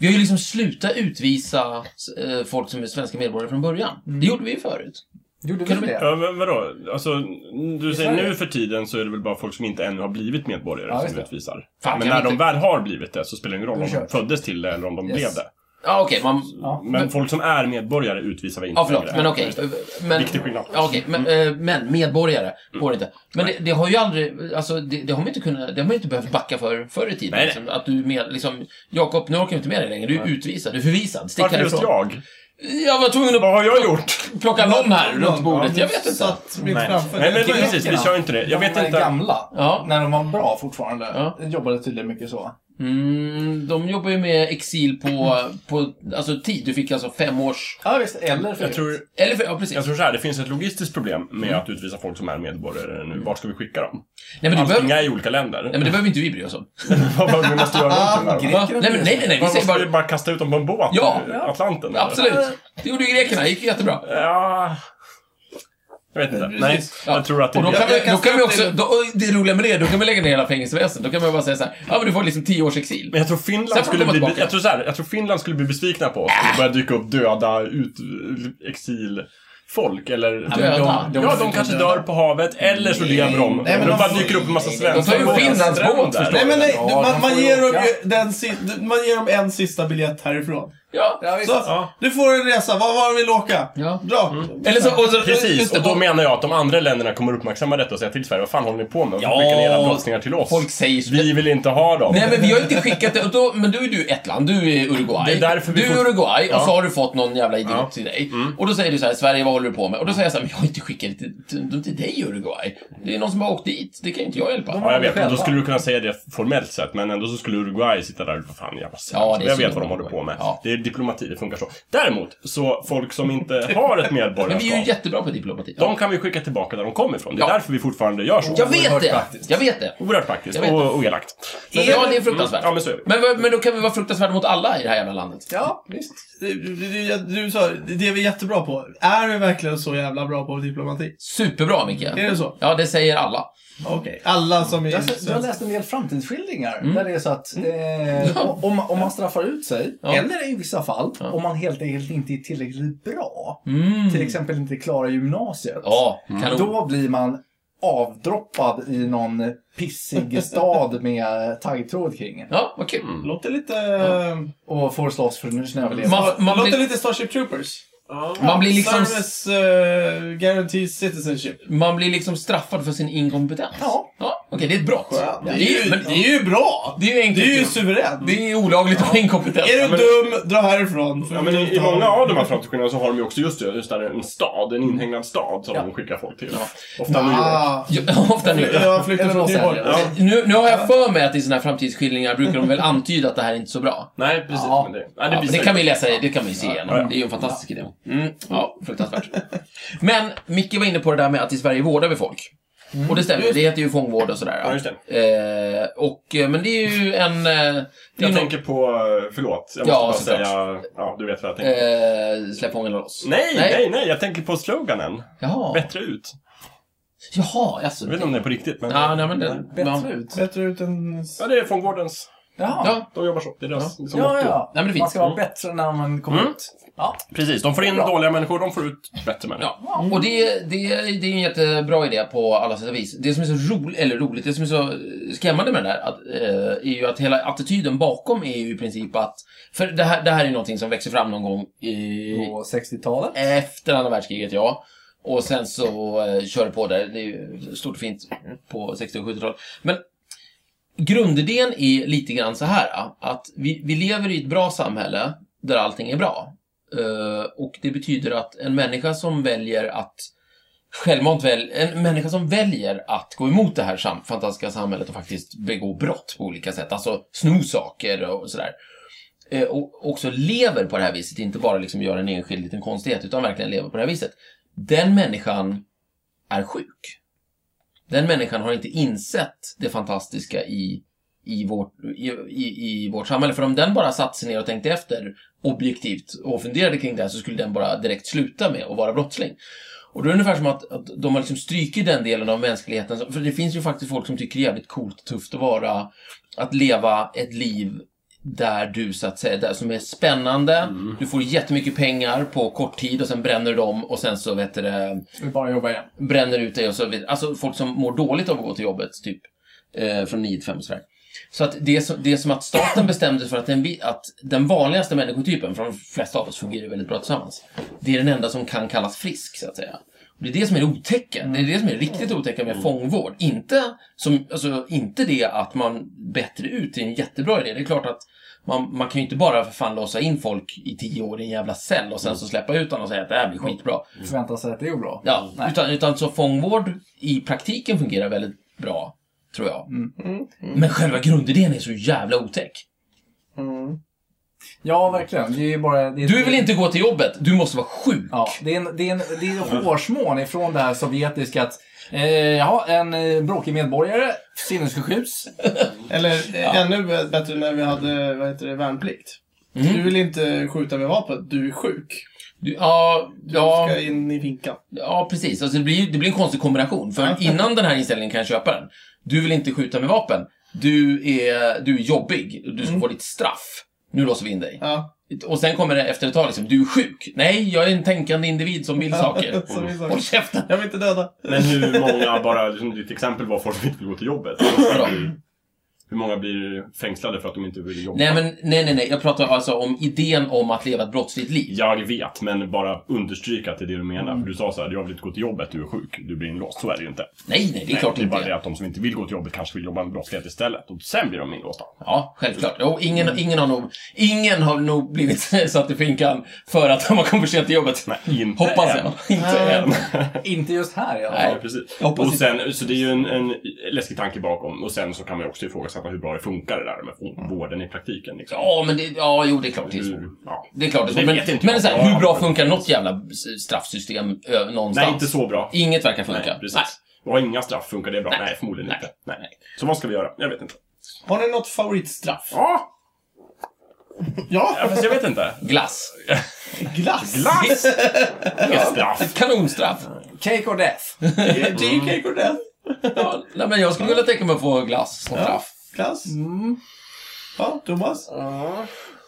B: Vi har ju liksom slutat utvisa eh, folk som är svenska medborgare från början.
A: Mm.
B: Det gjorde vi ju förut.
C: Gjorde
B: Kan
C: vi
B: du-
C: det?
D: Ja, men vadå? Alltså, du säger
C: Sverige?
D: nu för tiden så är det väl bara folk som inte ännu har blivit medborgare
C: Ja, just
D: som
C: det.
D: utvisar.
B: Fan,
D: men
B: kan
D: när
B: vi
D: de
B: inte-
D: väl har blivit det så spelar det ingen roll
C: Då
D: om de
C: kört.
D: föddes till det eller om de
C: Yes.
D: blev det.
B: Ja, okej. man...
C: Ja.
D: Men, folk som är medborgare utvisar vi inte
B: Ja, förlåt.
D: längre.
B: Men okej. Men...
D: Viktig skillnad. Mm.
B: Ja, okej. Men, eh, men medborgare får det inte. Men det, det har ju aldrig, alltså det, det har man inte kunnat, det har man inte behövt backa för förr i tiden.
D: Nej, nej.
B: Liksom, att du med, liksom, Jakob, nu orkar vi inte med dig längre. Du är utvisad, du är förvisad. Stick
D: Varför just
B: härifrån.
D: jag?
B: Jag var tvungen
D: Vad
B: att
D: har jag gjort?
B: plocka någon här runt bordet.
A: Ja,
B: Jag vet inte.
A: Satt mitt
D: Nej,
A: framför
D: Nej
A: dig.
D: men precis. Vi kör inte det. Jag vet
C: de är
D: inte.
C: gamla.
B: Ja.
C: När de var bra fortfarande.
B: Ja.
C: Jobbade tydligen mycket så.
B: Mm, de jobbar ju med exil på,
D: Mm.
B: på alltså, tid. Du fick alltså fem års...
C: Ja, visst. Eller
D: Jag tror,
B: Eller för, ja, precis.
D: jag tror så här, det finns ett logistiskt problem med att utvisa folk som är medborgare nu. Vart ska vi skicka dem?
B: nej, men det behöver,
D: Allting
B: nej,
D: är i olika länder.
B: men det behöver inte vi bry oss om.
D: Vad vad vi måste göra åt det där då?
B: Va? Nej, men, nej, nej, nej. Vi
D: Vad
B: säger
D: Måste vi
B: bara...
D: bara kasta ut dem på en båt
B: Ja,
D: i Atlanten? eller?
B: Absolut. Det gjorde ju grekerna. Det gick ju jättebra.
D: Ja... Jag vet inte. Nej, jag tror att det
B: Och då
D: är...
B: kan,
A: Jag- jag
B: vi,
A: kan
B: då kan vi
A: säga
B: också,
A: till-
B: då, och det roliga med det, då kan vi lägga ner hela fängelseväsendet. Då kan man bara säga så här, ja men du får liksom tio års exil.
D: Men jag tror
B: Sen
D: Finland
B: får
D: skulle
B: de
D: bli...
B: tillbaka.
D: Jag tror, så här, jag tror Finland skulle bli besvikna på oss om det börjar dyka upp döda ut, exilfolk. Eller...
B: men
D: Ja,
B: de-
D: de, kanske dör på havet, eller så lever de.
A: Nej, men
D: då
A: de-
D: bara dyker upp en massa
B: De
D: svenskar
B: tar ju
D: på våra
B: Finlands båt,
D: stränder.
B: förstår
A: Nej men nej, du,
C: Ja,
A: man,
C: de
A: man,
C: får
A: ger
C: ju
A: dem
C: åka.
A: ju den, si- man ger dem en sista biljett härifrån.
B: Ja.
C: Ja, Mm. visst.
A: Så, du får en resa, var, var vill du åka?
B: Ja.
A: Bra.
B: Eller så, och så,
D: Precis,
B: just det,
D: och då menar jag att de andra länderna kommer uppmärksamma detta och säga till Sverige, vad fan håller ni på med? Varför skickar ni era brottslingar till oss?
B: Folk säger så.
D: Vi vill inte ha dem.
B: Nej men vi har ju inte skickat det, och då, men då är du ett land, du är Uruguay.
D: Det är därför vi
B: du är
D: fort-
B: Uruguay och
D: Ja.
B: så har du fått någon jävla idiot
D: Ja. Mm.
B: till dig. Och då säger du så här, Sverige vad håller du på med? Och då säger jag så här, men jag har inte skickat det till, till, till dig Uruguay. Det är någon som har åkt dit, det kan ju inte jag hjälpa.
D: Ja, jag vet. Men då
C: Själva.
D: skulle du kunna säga det formellt sett, men ändå så skulle Uruguay sitta där och vad fan, jävla
B: Ja,
D: ja,
B: det är
D: Jag vet
B: synd
D: vad de
B: om
D: håller på
B: Uruguay.
D: med.
B: Ja.
D: Det är diplomati, det funkar så. Däremot, så folk som inte har ett
B: Men vi är ju
D: medborgarskap,
B: jättebra på diplomati.
D: de kan vi skicka tillbaka där de kommer ifrån. Det är
B: Ja.
D: därför vi fortfarande gör så.
B: Jag vet det!
C: praktiskt.
B: Jag vet det.
D: Oerhört praktiskt
B: Jag vet
D: och, och elakt. Men-
B: ja, det är fruktansvärt.
D: Ja, men så är vi.
B: Men, vad- men då kan vi vara fruktansvärda mot alla i det här jävla landet.
C: Ja, visst.
A: Du, du, du sa, det är vi jättebra på. Är vi verkligen så jävla bra på diplomati?
B: Superbra, Micke.
A: Är det så?
B: Ja, det säger alla.
A: Okej. Alla som är...
C: Jag, har sett- jag har läst en del framtidsskildringar där det är så att eh,
B: Mm. Ja.
C: om, om man straffar ut sig,
B: Ja.
C: eller i vissa fall,
B: Ja.
C: om man helt enkelt inte är tillräckligt bra,
B: Mm.
C: till exempel inte klarar gymnasiet,
B: Ja, kanon.
C: Mm. då blir man avdroppad i någon pissig stad med taggtråd kring
B: Ja, vad kul.
A: Låter lite... eh,
C: och får slåss för sin överlevnad.
B: Man, man,
A: låter
B: blir,
A: lite Starship Troopers.
B: man, blir liksom,
A: Service uh, guarantees citizenship.
B: man blir liksom straffad för sin inkompetens.
C: Ja.
B: ja Okej, det är ett brott.
A: Det
B: Det
A: är,
B: är
A: ju,
B: ju- men
A: det är ju bra!
B: Det är ju
A: Det
B: enkelt.
A: är ju suveränt.
B: det är olagligt att vara inkompetent.
A: Är du dum, dra härifrån.
D: Ja, men i, I många av de här framtidsskillnaderna så har de ju också just det, just där en stad, en inhägnad stad som
B: Ja.
D: de skickar folk till. Ofta New York.
A: Ah,
B: Ja, ofta nu.
A: jag flyttade
C: Eller
A: från
C: Los
A: Nyborg.
C: Angeles.
B: Nu, nu har jag för mig att i såna här framtidsskildringar brukar de väl antyda att det här är inte så bra.
D: Nej, precis.
C: Ja.
D: Men det, nej, det,
B: Ja,
D: visar
B: det kan
D: ju-
B: vi läsa, i- det kan vi ju se igenom.
D: Ja, ja.
B: Det är ju en fantastisk idé. Mm, ja, fruktansvärt. Men Micke var inne på det där med att i Sverige vårdar vi folk. Och det stämmer, det heter ju fångvård och sådär.
D: Mm. Ja, just
B: Eh, och, eh, men det är ju en... eh, Det är
D: Jag
B: ju
D: tänker på, eh, förlåt, jag måste
B: Ja,
D: bara
B: såklart.
D: säga, ja du vet vad jag tänker.
B: någon, eh, släpp fångarna loss.
D: Nej,
B: Nej.
D: nej, nej, jag tänker på sloganen.
B: Jaha,
D: Bättre ut.
B: jaha, alltså.
D: Jag vet inte om det är på riktigt, men...
B: Ja, nej, men det,
C: Bättre
B: man,
C: ut.
A: Bättre ut än...
D: Ja, det är fångvårdens
C: Jaha.
B: Ja.
D: De jobbar så. Det är deras liksom,
C: Ja,
D: motto.
C: ja.
B: Nej, men det finns.
C: Man ska vara
B: Mm.
C: bättre när man kommer
D: Mm.
C: ut. Ja.
D: Precis, de får in dåliga människor, de får ut bättre människor.
B: Ja, och det, det, det är en jättebra idé på alla sätt och vis. Det som är så roligt, eller roligt, det som är så skrämmande med det där, att, eh, är ju att hela attityden bakom är ju i princip att, för det här, det här är ju någonting som växer fram någon gång i,
C: På 60-talet.
B: Eh. efter andra världskriget, ja. Och sen så eh, kör det på där. Det är ju stort och fint på 60 och 70-talet. Men grundidén är lite grann så här. ja, Att vi, vi lever i ett bra samhälle där allting är bra. Eh, och det betyder att en människa som väljer att självmant väl, en människa som väljer att gå emot det här sam fantastiska samhället och faktiskt begå brott på olika sätt, alltså sno saker och sådär, eh, och också lever på det här viset, inte bara liksom gör en enskild liten konstighet, utan verkligen lever på det här viset. Den människan är sjuk. Den människan har inte insett det fantastiska i, i, vårt, i, i, i vårt samhälle. För om den bara satt sig ner och tänkte efter objektivt och funderade kring det här så skulle den bara direkt sluta med att vara brottsling. Och då är det ungefär som att, att de har liksom strykit den delen av mänskligheten. För det finns ju faktiskt folk som tycker det är jävligt coolt och tufft att vara, att leva ett liv där du så att säga, där som är spännande. Du får jättemycket pengar på kort tid och sen bränner du dem och sen så vet du det,
C: Vi bara jobba igen.
B: bränner ut dig och så vidare. Alltså folk som mår dåligt av att gå till jobbet, typ. Eh, från 9 till 5 och sådär. Så att det, är så, det är som att staten bestämde sig för att den, vi- att den vanligaste människotypen, för de flesta av oss fungerar ju väldigt bra tillsammans, det är den enda som kan kallas frisk, så att säga. Och det är det som är det otäcka. Det är det som är det riktigt otäcka med fångvård. Inte, som, alltså, inte det att man bättre ut, det är en jättebra idé. Det är klart att man, man kan ju inte bara för fan låsa in folk i tio år i en jävla cell och sen så släppa ut dem och säga att det här blir skitbra.
C: Förväntar sig att det är bra.
B: Mm. Ja,
C: Nej.
B: Mm. utan, utan så fångvård i praktiken fungerar väldigt bra, tror jag.
A: Mm.
B: Men själva grundidén är så jävla otäck.
A: Mm.
C: Ja, verkligen. Det är ju bara... Det är
B: Du vill inte gå till jobbet, du måste vara sjuk.
C: Ja, det är en, det är en, det är en hårsmån ifrån det här sovjetiska att eh, ja, en eh, bråkig medborgare, sinnessjukhus.
A: Eller eh, ännu bättre när vi hade vad heter det, värnplikt.
B: Mm.
A: Du vill inte skjuta med vapen, du är sjuk.
B: Du, ja,
A: Du
B: ja,
A: ska in i finkan.
B: ja, precis. Alltså, det, blir, det blir en konstig kombination. För innan den här inställningen kan jag köpa den. Du vill inte skjuta med vapen. Du är, du är jobbig. Du ska få ditt straff. Nu låser vi in dig.
A: Ja.
B: Och sen kommer det efter ett tag liksom, du är sjuk. Nej, jag är en tänkande individ som vill saker.
A: Som vi sa.
B: Håll käften.
A: Jag vill inte döda.
D: Men hur många, bara som ditt exempel var folk som inte vill gå till jobbet.
B: Bra.
D: Hur många blir fängslade för att de inte vill jobba?
B: Nej, men nej, nej, nej. Jag pratar alltså om idén om att leva ett brottsligt liv.
D: Jag vet, men bara understryka att det är det du menar.
B: Mm.
D: För du sa så här, jag vill inte gå till jobbet, du är sjuk, du blir inlåst. Så är det ju inte.
B: Nej, nej, det är klart
D: det är bara
B: inte.
D: det att de som inte vill gå till jobbet kanske vill jobba med brottslighet istället. Och sen blir de inlåsta.
B: Ja, självklart. Jo, ingen, ingen, har nog, ingen har nog blivit satt i finkan för att de har kommit för sent till jobbet.
D: Nej, inte
B: Hoppas
D: än.
B: jag. Inte än.
C: inte just här i alla
B: Nej.
C: fall.
D: Ja, precis.
B: Jag hoppas
D: Och sen, så det är ju en, en läskig tanke bakom. Och sen så kan man ju också ifrågasätta hur bra det funkar det där med få- vården i praktiken. Liksom.
B: Mm. Ja, men det, ja, jo, det är klart det är svårt.
D: Hur- ja.
B: Det är klart det är
D: Mm. Det
B: svårt. Men,
D: vet inte
B: men
D: jag.
B: så här, hur bra
D: Ja.
B: funkar något jävla straffsystem ö, någonstans?
D: Nej, inte så bra.
B: Inget verkar funka.
D: Nej, precis. Och inga straff, funkar det bra?
B: Nej.
D: Nej, förmodligen
B: Nej.
D: inte. Nej. Så vad ska vi göra? Jag vet inte.
A: Har ni något favoritstraff?
D: Ja,
A: Ja,
D: fast jag vet inte.
B: Glass.
A: glass!
D: Glass! Inget straff.
B: Ett kanonstraff.
C: Cake or death.
A: Det är ju cake or death.
B: Ja, nej, men jag skulle vilja tänka mig att få glass som
A: Ja,
B: straff.
A: glass. Ja, Thomas?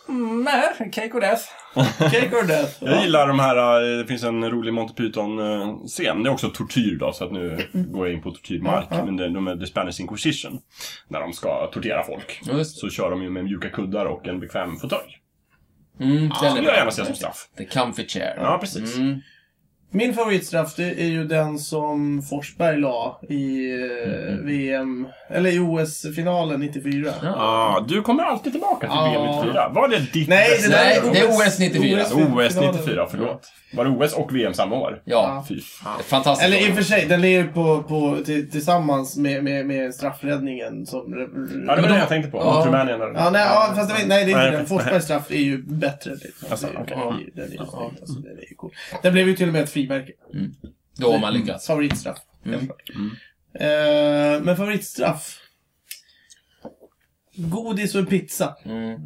C: Mm, nej, cake or death.
A: Cake or death?
D: Jag gillar de här, eh, det finns en rolig Monty Python-scen. Det är också tortyr då, så att nu går jag in på tortyrmark. Men det, de är The Spanish Inquisition. När de ska tortera folk.
B: Ja, just.
D: Så kör de ju med mjuka kuddar och en bekväm fåtölj.
B: Mm, den
D: Det
B: är
D: skulle jag
B: bra.
D: gärna se som straff.
B: The comfy chair.
D: Ja, precis.
B: Mm.
A: Min favoritstraff det är ju den som Forsberg la i eh, VM, eller i OS-finalen 94.
B: Mm-hmm. Ja.
D: Ah, du kommer alltid tillbaka till
A: Ja.
D: VM 94. Var det ditt
A: Nej, det
D: bästa
A: där
B: Nej,
A: är
D: år?
B: det är OS 94.
D: OS 94, förlåt. Var det OS och VM samma år?
B: Ja,
D: Fy fan.
B: fantastiskt.
A: Eller i och för sig, den ligger på, på, till, tillsammans med, med, med straffräddningen som...
D: Ja, det var
B: de-
D: det jag tänkte på.
B: Ja.
D: Mot Rumänien eller?
A: Ja, nej, ja, fast det, var- nej, det är inte
D: Nej, okej.
A: den. Forsbergs straff är ju bättre. Liksom.
D: Alltså,
A: det är,
D: okej.
A: ju- den är ju snygg. Alltså, den är ju cool. Den blev ju till och med ett frimärke.
B: Då har man lyckats.
A: Mm. Favoritstraff.
B: Mm.
A: helt klart. Eh, men favoritstraff? Godis och pizza.
B: Mm.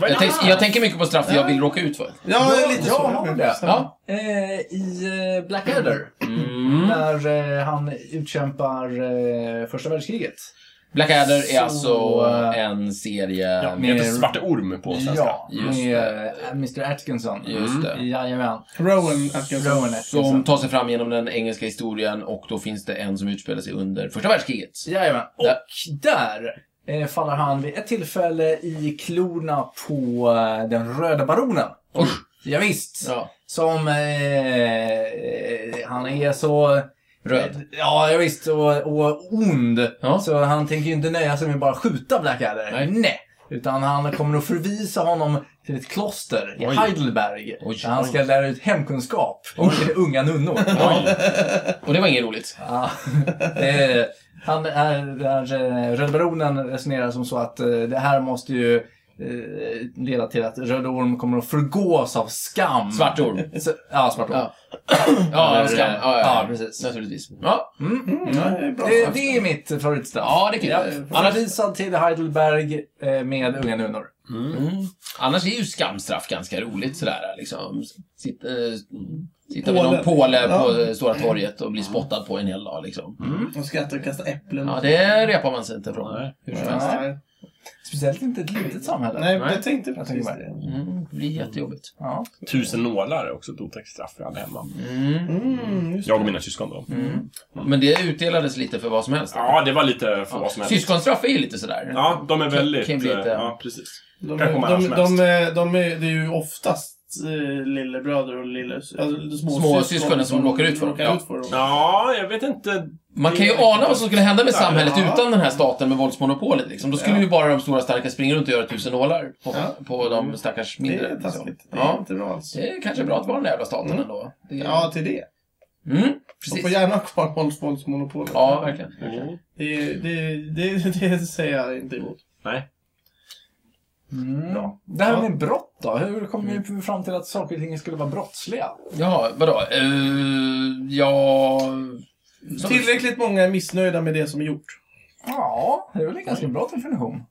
D: Vad
B: Jag,
D: är det
B: tänk,
D: här?
B: jag tänker mycket på straff jag vill råka ut för.
A: Ja,
C: Ja,
A: lite
C: ja,
A: så.
C: har det.
B: Ja.
C: Eh, I eh, Blackadder.
B: Mm.
C: När eh, han utkämpar eh, första världskriget.
B: Blackadder är
C: Så,
B: alltså
C: eh,
B: en serie...
D: Ja, med
C: med-
D: Svarte Orm på svenska.
C: Ja,
B: Just
C: med eh, Mr Atkinson. Mm,
B: Just det.
C: Jajamän.
A: Rowan Atkinson.
C: Rowan
B: Som
C: Atkinson.
B: tar sig fram genom den engelska historien och då finns det en som utspelar sig under första världskriget.
C: Jajamän. Och
B: Där.
C: där eh, faller han vid ett tillfälle i klorna på eh, den röda baronen.
B: Usch.
C: Ja, visst.
B: Ja,
C: Som eh, eh, han är så...
B: röd.
C: Ja, ja visst. Och, och ond.
B: Ja.
C: Så han tänker ju inte nöja sig med bara skjuta Blackadder.
B: Nej.
C: Utan han kommer att förvisa honom till ett kloster i
B: Oj.
C: Heidelberg.
B: Oj,
C: där han
B: oj.
C: ska lära ut hemkunskap till unga nunnor.
B: Och det var inget roligt.
C: Ja. Eh, han är, där, eh, Röd baronen resonerar som så att eh, det här måste ju eh, leda till att Röd Orm kommer att förgås av skam.
B: Svart orm.
C: Så, ja, svart orm.
B: Ja. Ja,
C: Eller-
B: jag ska, ja, ja,
C: ja, precis.
B: Naturligtvis. Ja,
C: Mm,
A: Ja, Mm. det är bra.
C: Det, det är mitt favoritstraff.
B: ja det är kul.
C: Ja,
B: Annars,
C: Förvisad till Heidelberg eh, med unga nunnor.
B: mm, annars är ju skamstraff ganska roligt sådär. Liksom. Sitt, eh, sitta vid
A: Påle.
B: någon påle på
A: Ja.
B: eh, Stora torget och bli spottad på en hel dag. Liksom.
A: Och skrattar och kastar äpplen.
B: Ja, det repar man sig inte från. Hur som helst.
A: Nej,
C: Speciellt inte ett litet samhälle.
A: Nej,
B: Nej.
A: jag tänkte
C: Jag
A: precis
C: tänker
A: det.
B: Mm, det blir jättejobbigt.
C: Ja.
D: Tusen nålar är också ett otäckt straff vi hade hemma.
B: Mm.
A: Mm, just
D: Jag och mina syskon då.
B: Men det utdelades lite för vad som helst.
D: Ja, det var lite för vad som helst.
B: Syskonstraff är ju lite sådär.
D: Ja, de är väldigt...
B: Kan bli lite-
D: eh, Ja, precis.
A: De,
D: Kan
A: de,
D: komma
A: de,
D: när som
A: de, är- de är, det är ju oftast eh, lillebröder och lille, alltså, små,
B: Små syskonen som råkar ut för dem, ja.
A: råkar ut för dem.
D: Ja, jag vet inte.
B: Man kan ju ana vad som skulle hända med samhället
A: Ja.
B: utan den här staten med våldsmonopolet. Liksom. Då skulle
A: Ja.
B: ju bara de stora starka springa runt och göra tusen nålar på,
A: Ja.
B: på de stackars
A: Mm. Det
B: mindre.
A: är taskigt. Det är
B: Ja.
A: inte bra alls.
B: Det är kanske bra att vara den där jävla staten ändå. Det är...
A: Ja, till det.
B: Mm,
A: De får
B: precis.
A: gärna ha kvar vålds- våldsmonopolet.
B: Ja, verkligen.
D: Mm.
A: Det, det, det, det säger jag inte emot.
D: Nej.
C: Mm.
A: Bra.
C: Det här med brott då? Hur kom vi fram till att saker och ting skulle vara brottsliga?
B: Ja, vadå? Eh, ja... Som-
A: Tillräckligt många är missnöjda med det som är gjort.
C: Ja, det är väl en ganska bra definition.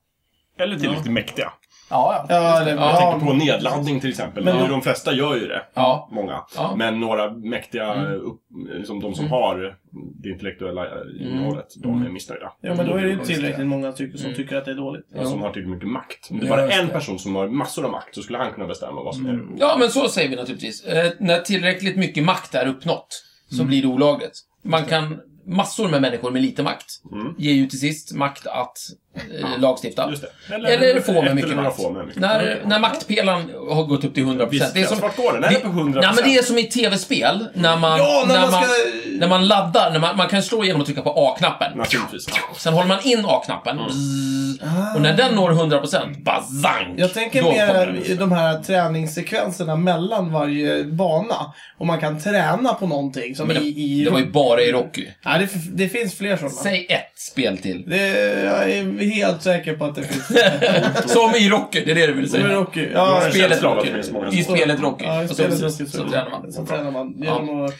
D: Eller tillräckligt mäktiga.
C: Ja, ja.
A: Ja, eller,
B: Ja,
A: ja,
D: På nedladdning till exempel.
A: Men-
D: Men, De flesta gör ju det.
B: Ja.
D: Många.
B: Ja.
D: Men några mäktiga,
B: Mm.
D: eh, upp, liksom de som har det intellektuella eh,
B: Mm.
D: innehållet, de är missnöjda.
A: ja, men då är det ju tillräckligt många tycker,
B: Mm.
A: som tycker att det är dåligt.
D: Ja, Som har tillräckligt mycket makt. Om det
C: Ja,
D: bara
C: just
D: en
C: det.
D: person som har massor av makt så skulle han kunna bestämma vad som är mm.
B: Ja, men så säger vi naturligtvis. Eh, när tillräckligt mycket makt är uppnått så
D: Mm.
B: blir det olagligt. Man kan... Massor med människor med lite makt
D: Mm.
B: ger ju till sist makt att eh, lagstifta.
D: Just det.
B: Eller få med
D: ett
B: mycket
D: eller några
B: makt.
D: få med mycket
B: När,
D: makt. Okej.
B: när maktpelaren har gått upp till 100%.
D: Visst,
B: det är som,
D: vart går den? Är
B: det-
D: den på 100%?
B: Nej, men det är som i tv-spel. När man,
A: Ja, när man ska-
B: när man laddar. När man, man kan slå genom att trycka på A-knappen.
D: Naturligtvis.
B: Sen håller man in A-knappen.
D: Mm.
B: Bzzz. Och när den når 100%, bazang!
A: Jag tänker
B: då kommer den.
A: mer de här träningssekvenserna mellan varje bana. Om man kan träna på någonting. Som
B: Men
A: i, i...
B: Det var ju bara i Rocky.
A: ja, det, det finns fler sådana.
B: Säg ett spel till.
A: Det, jag är helt säker på att det finns.
B: Som i Rocky, det är det du vill
A: Som i
B: säga.
A: Rocky. Ja,
D: Ja,
A: spel-
B: Spelet
D: Känslan av att
B: Rocky.
D: det finns många
B: I
D: som-
B: spelet Rocky.
A: ja, i
B: Och så-
A: spelet
B: så,
A: Rocky
B: så, tränar man.
A: Så Mm, tränar man genom att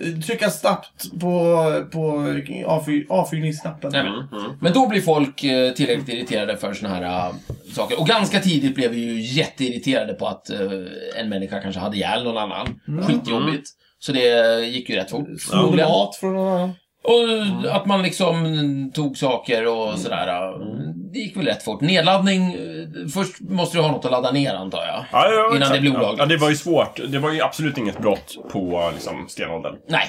A: eh, trycka snabbt på, på avfyr, avfyrningsknappen.
B: Nej, men. Men då blir folk eh, tillräckligt irriterade för såna här eh, saker. Och ganska tidigt blev vi ju jätteirriterade på att eh, en människa kanske hade ihjäl någon annan. Skitjobbigt. Så det gick ju rätt fort.
A: Snodde
B: förmodligen.
A: mat från någon annan.
B: Och att man liksom tog saker och sådär. eh, Det gick väl rätt fort. Nedladdning, eh, först måste du ha något att ladda ner antar jag.
D: Ja, ja,
B: Innan
D: exakt.
B: det blir
D: Ja.
B: olagligt.
D: Ja, det var ju svårt. Det var ju absolut inget brott på liksom, stenåldern.
B: Nej,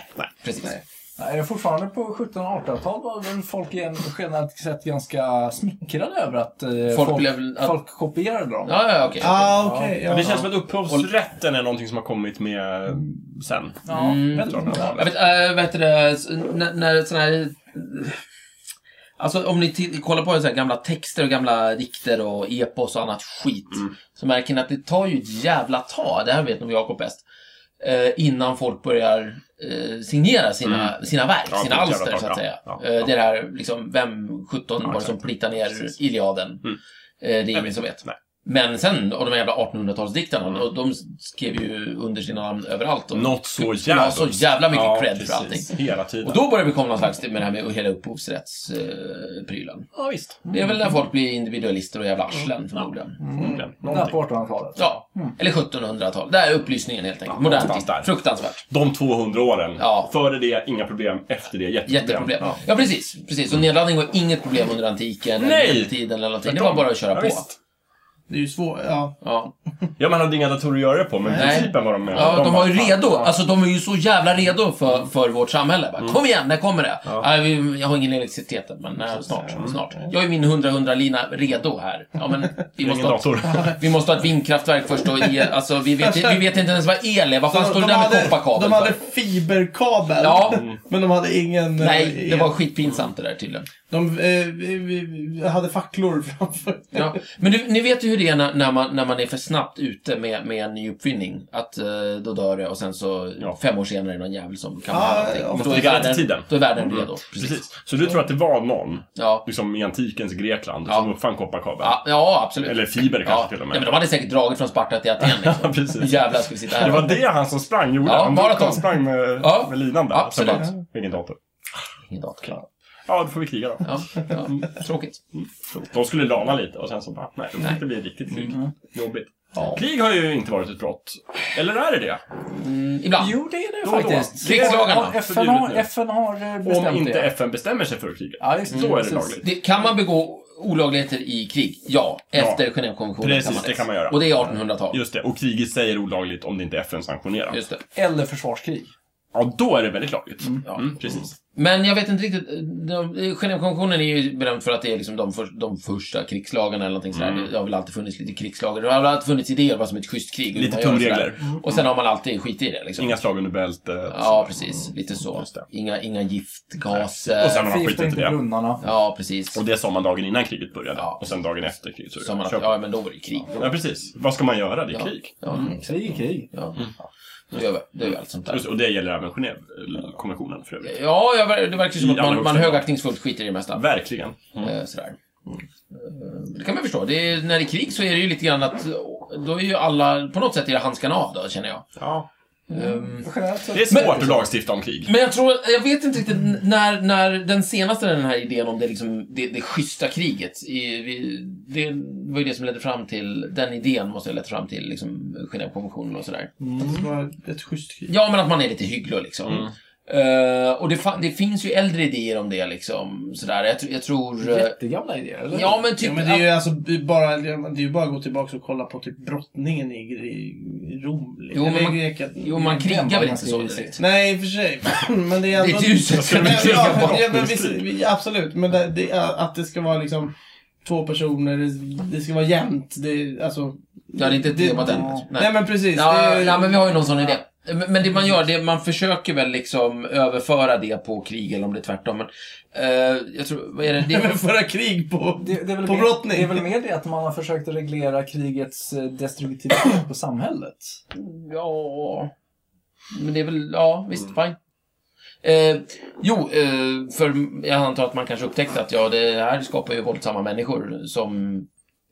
B: precis.
C: Jag är fortfarande på 1700-1800-tal var väl folk igen- generellt sett ganska smickrade över att eh,
B: Folk
C: folk, folk,
B: blev- att-
C: kopierade dem.
B: Ja, ja, okej.
A: Ah, okej. ja.
D: Det känns som att upphovsrätten är någonting som har kommit med eh, sen.
C: Ja,
B: Mm.
C: bättre än det.
B: Jag vet, äh, vad heter det, s- när, när såna här... Alltså om ni ti- kollar på så här gamla texter och gamla dikter och epos och annat skit.
D: Mm.
B: Så märker ni att det tar ju ett jävla tag, det här vet nog Jakob bäst. eh, innan folk börjar eh, signera sina, sina verk,
D: Mm. Ja,
B: sina
D: det är ett
B: alster
D: jävla
B: så att
D: tag, ja.
B: säga.
D: Ja,
B: Eh,
D: ja.
B: Det är det här, liksom, vem sjutton var det som
D: exakt. Mm.
B: plitar ner Iliaden? Eh, det är ingen som vet.
D: Nej.
B: Men sen, av de jävla 1800-talsdiktarna, och de skrev ju under sina namn överallt. Och
D: Något så
B: skulle ha
D: jävla...
B: så jävla mycket
D: Ja,
B: cred för allting.
D: precis. Hela tiden.
B: Och då börjar vi komma någon slags med det här med hela upphovsrättsprylen. Eh, prylen.
D: Ja, visst.
B: Det är väl när folk blir individualister och
D: Mm.
B: jävla arslen förmodligen.
C: Mm.
D: Förmodligen.
C: Där
D: Någonting.
C: på 1800-talet.
B: Ja, eller 1700-tal. Det här är upplysningen helt enkelt. Modernt.
D: Mm. någonstans där.
B: Fruktansvärt.
D: De 200 åren.
B: Ja.
D: Före det, inga problem. Efter det, jätteproblem.
B: Jätteproblem. Ja, precis. precis. Och nedladdning var inget problem under antiken,
D: Nej!
B: eller medeltiden eller någonting. Det var bara att köra
D: Ja,
B: på.
D: visst.
A: Det är ju svårt. Ja.
B: Ja.
D: Ja, man hade inga datorer att göra det på, men
B: Nej.
D: principen var de med.
B: Ja, de var ju
D: bara,
B: redo.
D: fan,
B: Alltså de är ju så jävla redo för, för vårt samhälle. Bara,
A: Mm.
B: Kom igen, när kommer det? Ja. vi- jag har ingen elektricitet än, men nej, snart,
A: Mm.
B: snart. Jag är min 100-100-lina redo här. Ja, men vi
D: Ingen
B: måste, ha,
D: dator.
B: vi måste ha ett vindkraftverk först och el, alltså, vi, vet, vi vet inte ens vad el är. Vad fan
A: Så
B: står det där med
A: de
B: kopparkabel
A: hade
B: för?
A: fiberkabel.
B: Ja.
A: Men de hade ingen... eh,
B: Nej, det
A: el.
B: var skitpinsamt det där tydligen.
A: De eh, vi- vi- hade facklor framför.
B: Ja. Men du, ni vet ju hur det är när, när, man, när man är för snabbt ute med, med en ny uppfinning. Att eh, då dör det och sen så
D: Ja.
B: fem år senare är det någon jävel som kan
A: Ja,
B: ha allting.
A: ja,
B: Och
A: måste
B: då är
D: ligga rätt i
B: världen,
D: tiden.
B: då är världen
A: Mm.
B: redo.
D: Precis. Så du tror att det var någon,
B: Ja.
D: liksom i antikens Grekland,
B: Ja.
D: som uppfann kopparkabeln?
B: Ja, ja, absolut.
D: Eller fiber kanske
B: ja.
D: till och med.
B: Nej, men de hade säkert dragit från Sparta till Aten. Liksom.
D: Ja, precis.
B: Nu jävlar ska vi sitta här.
D: Det var det han som sprang gjorde.
B: Ja,
D: han bara
B: maraton.
D: kom, sprang med,
B: Ja,
D: med linan där. Sen
B: absolut.
D: bara, Ingen dator.
B: Ingen dator.
D: Ja, då får vi kriga då.
B: Ja, ja. Tråkigt.
D: De skulle lana lite och sen så bara, nej, det blir riktigt krig.
B: Mm.
D: Jobbigt. Krig har ju inte varit ett brott. Eller är det det?
B: Mm, ibland.
C: Jo, det är det
D: Då och då.
C: faktiskt.
B: Krigslagarna.
C: Ja, FN har,
D: Förbjudet nu.
C: FN har eh,
D: Om
C: bestämt
D: inte
C: det.
D: FN bestämmer sig för kriget.
C: Ja, just det.
D: Då är det
C: Precis.
D: lagligt.
B: Det, kan man begå olagligheter i krig? Ja, efter Genèvekonventionen
D: Precis, det kan man göra.
B: Och det är 1800-tal.
D: Just det, och krig i sig är olagligt om det inte är FN sanktionerar.
B: Just det.
C: Eller försvarskrig.
D: Ja, då är det väldigt lagligt.
B: Ja.
D: Mm, precis.
B: Men jag vet inte riktigt. de- Genèvekonventionen är ju berömd för att det är liksom de, för, de första krigslagarna eller någonting sådär.
D: Mm.
B: Det har väl alltid funnits lite krigslagar. Det har väl alltid funnits idéer vad som är ett schysst krig. och hur man
D: Lite
B: gör och sådär.
D: tumregler.
B: Och sen har man alltid skit i det liksom.
D: Inga slag under bältet.
B: Ja, precis. Lite så.
D: Mm, Just det.
B: Inga, inga giftgaser.
D: Och sen har man
C: Förgifta
D: skitit i
C: inte
D: det.
C: brunnarna.
B: Ja, precis.
D: Och det sa man dagen innan kriget började.
B: Ja.
D: Och sen dagen efter kriget. så-
B: Som man,
D: Kör på.
B: ja, men då var det ju krig.
D: Ja, Mm. precis. Vad ska man göra? Det är
B: Ja.
D: krig.
B: Ja,
C: Krig är krig.
B: ja.
D: Mm.
B: Då gör vi, då gör vi allt sånt där.
D: Just, det, och det gäller även Genèvekonventionen för övrigt.
B: Ja, jag ver- det verkar ju som
D: I
B: att man,
D: allra
B: man
D: högsta
B: högaktningsfullt skiter i det mesta.
D: Verkligen.
B: Eh, Sådär. Eh, Det kan man förstå. Det är, när det är krig så är det ju lite grann att då är ju alla, på något sätt är det handskarna av då, känner jag.
D: Ja.
B: Ehm,
C: Generellt sett-
D: Det är svårt att lagstifta om krig.
B: Men jag tror, jag vet inte riktigt n- när, när den senaste den här idén om det, liksom, det, det schyssta kriget. I, vi, det var ju det som ledde fram till, den idén måste ha lett fram till liksom, Genèvekonventionen och sådär.
D: Mm.
C: Mm.
A: Att det var ett schysst krig.
B: Ja, men att man är lite hygglig liksom.
A: Mm.
B: Eh, och det, fa- det finns ju äldre idéer om det liksom. Sådär. Jag, tr- jag tror... eh,
C: Jättegamla idéer, eller?
B: ja, men typ...
A: Ja, men det är ju alltså bara, det är ju bara att gå tillbaka och kolla på typ brottningen i, i Rom. liksom.
B: Jo,
A: eller
B: men man-
A: Grekland.
B: jo, man
C: Den
B: krigar
C: var
B: väl inte
C: ganska
B: så
C: risig.
B: direkt.
A: Nej, i och för sig. Men det är
B: Det
A: ändå...
B: är ett uselt
D: skulle
A: Men,
D: vi
B: sätt.
D: kriga
A: ja,
D: på
A: ja, men
D: brottningskrig.
A: visst, vi- absolut, men det, det, att det ska vara liksom två personer, det- det ska vara jämnt. Det, alltså,
B: Ja, det är inte ett temat än.
A: Nej.
B: Nej.
A: men precis.
B: Ja,
A: det,
B: ja, men vi har ju någon sån idé. Men- Men det man gör, det är- man försöker väl liksom överföra det på krig eller om det är tvärtom. Men, eh, jag tror, vad är det? det
A: Nej, men föra krig på,
C: Det, det, är väl
A: på
C: mer,
A: brottning.
C: det är väl mer det att man har försökt att reglera krigets eh, destruktivitet på samhället.
B: ja, men det är väl, ja, visst,
A: Mm.
B: fine. Eh, jo, eh, för jag antar att man kanske upptäckte att ja, det här skapar ju våldsamma människor som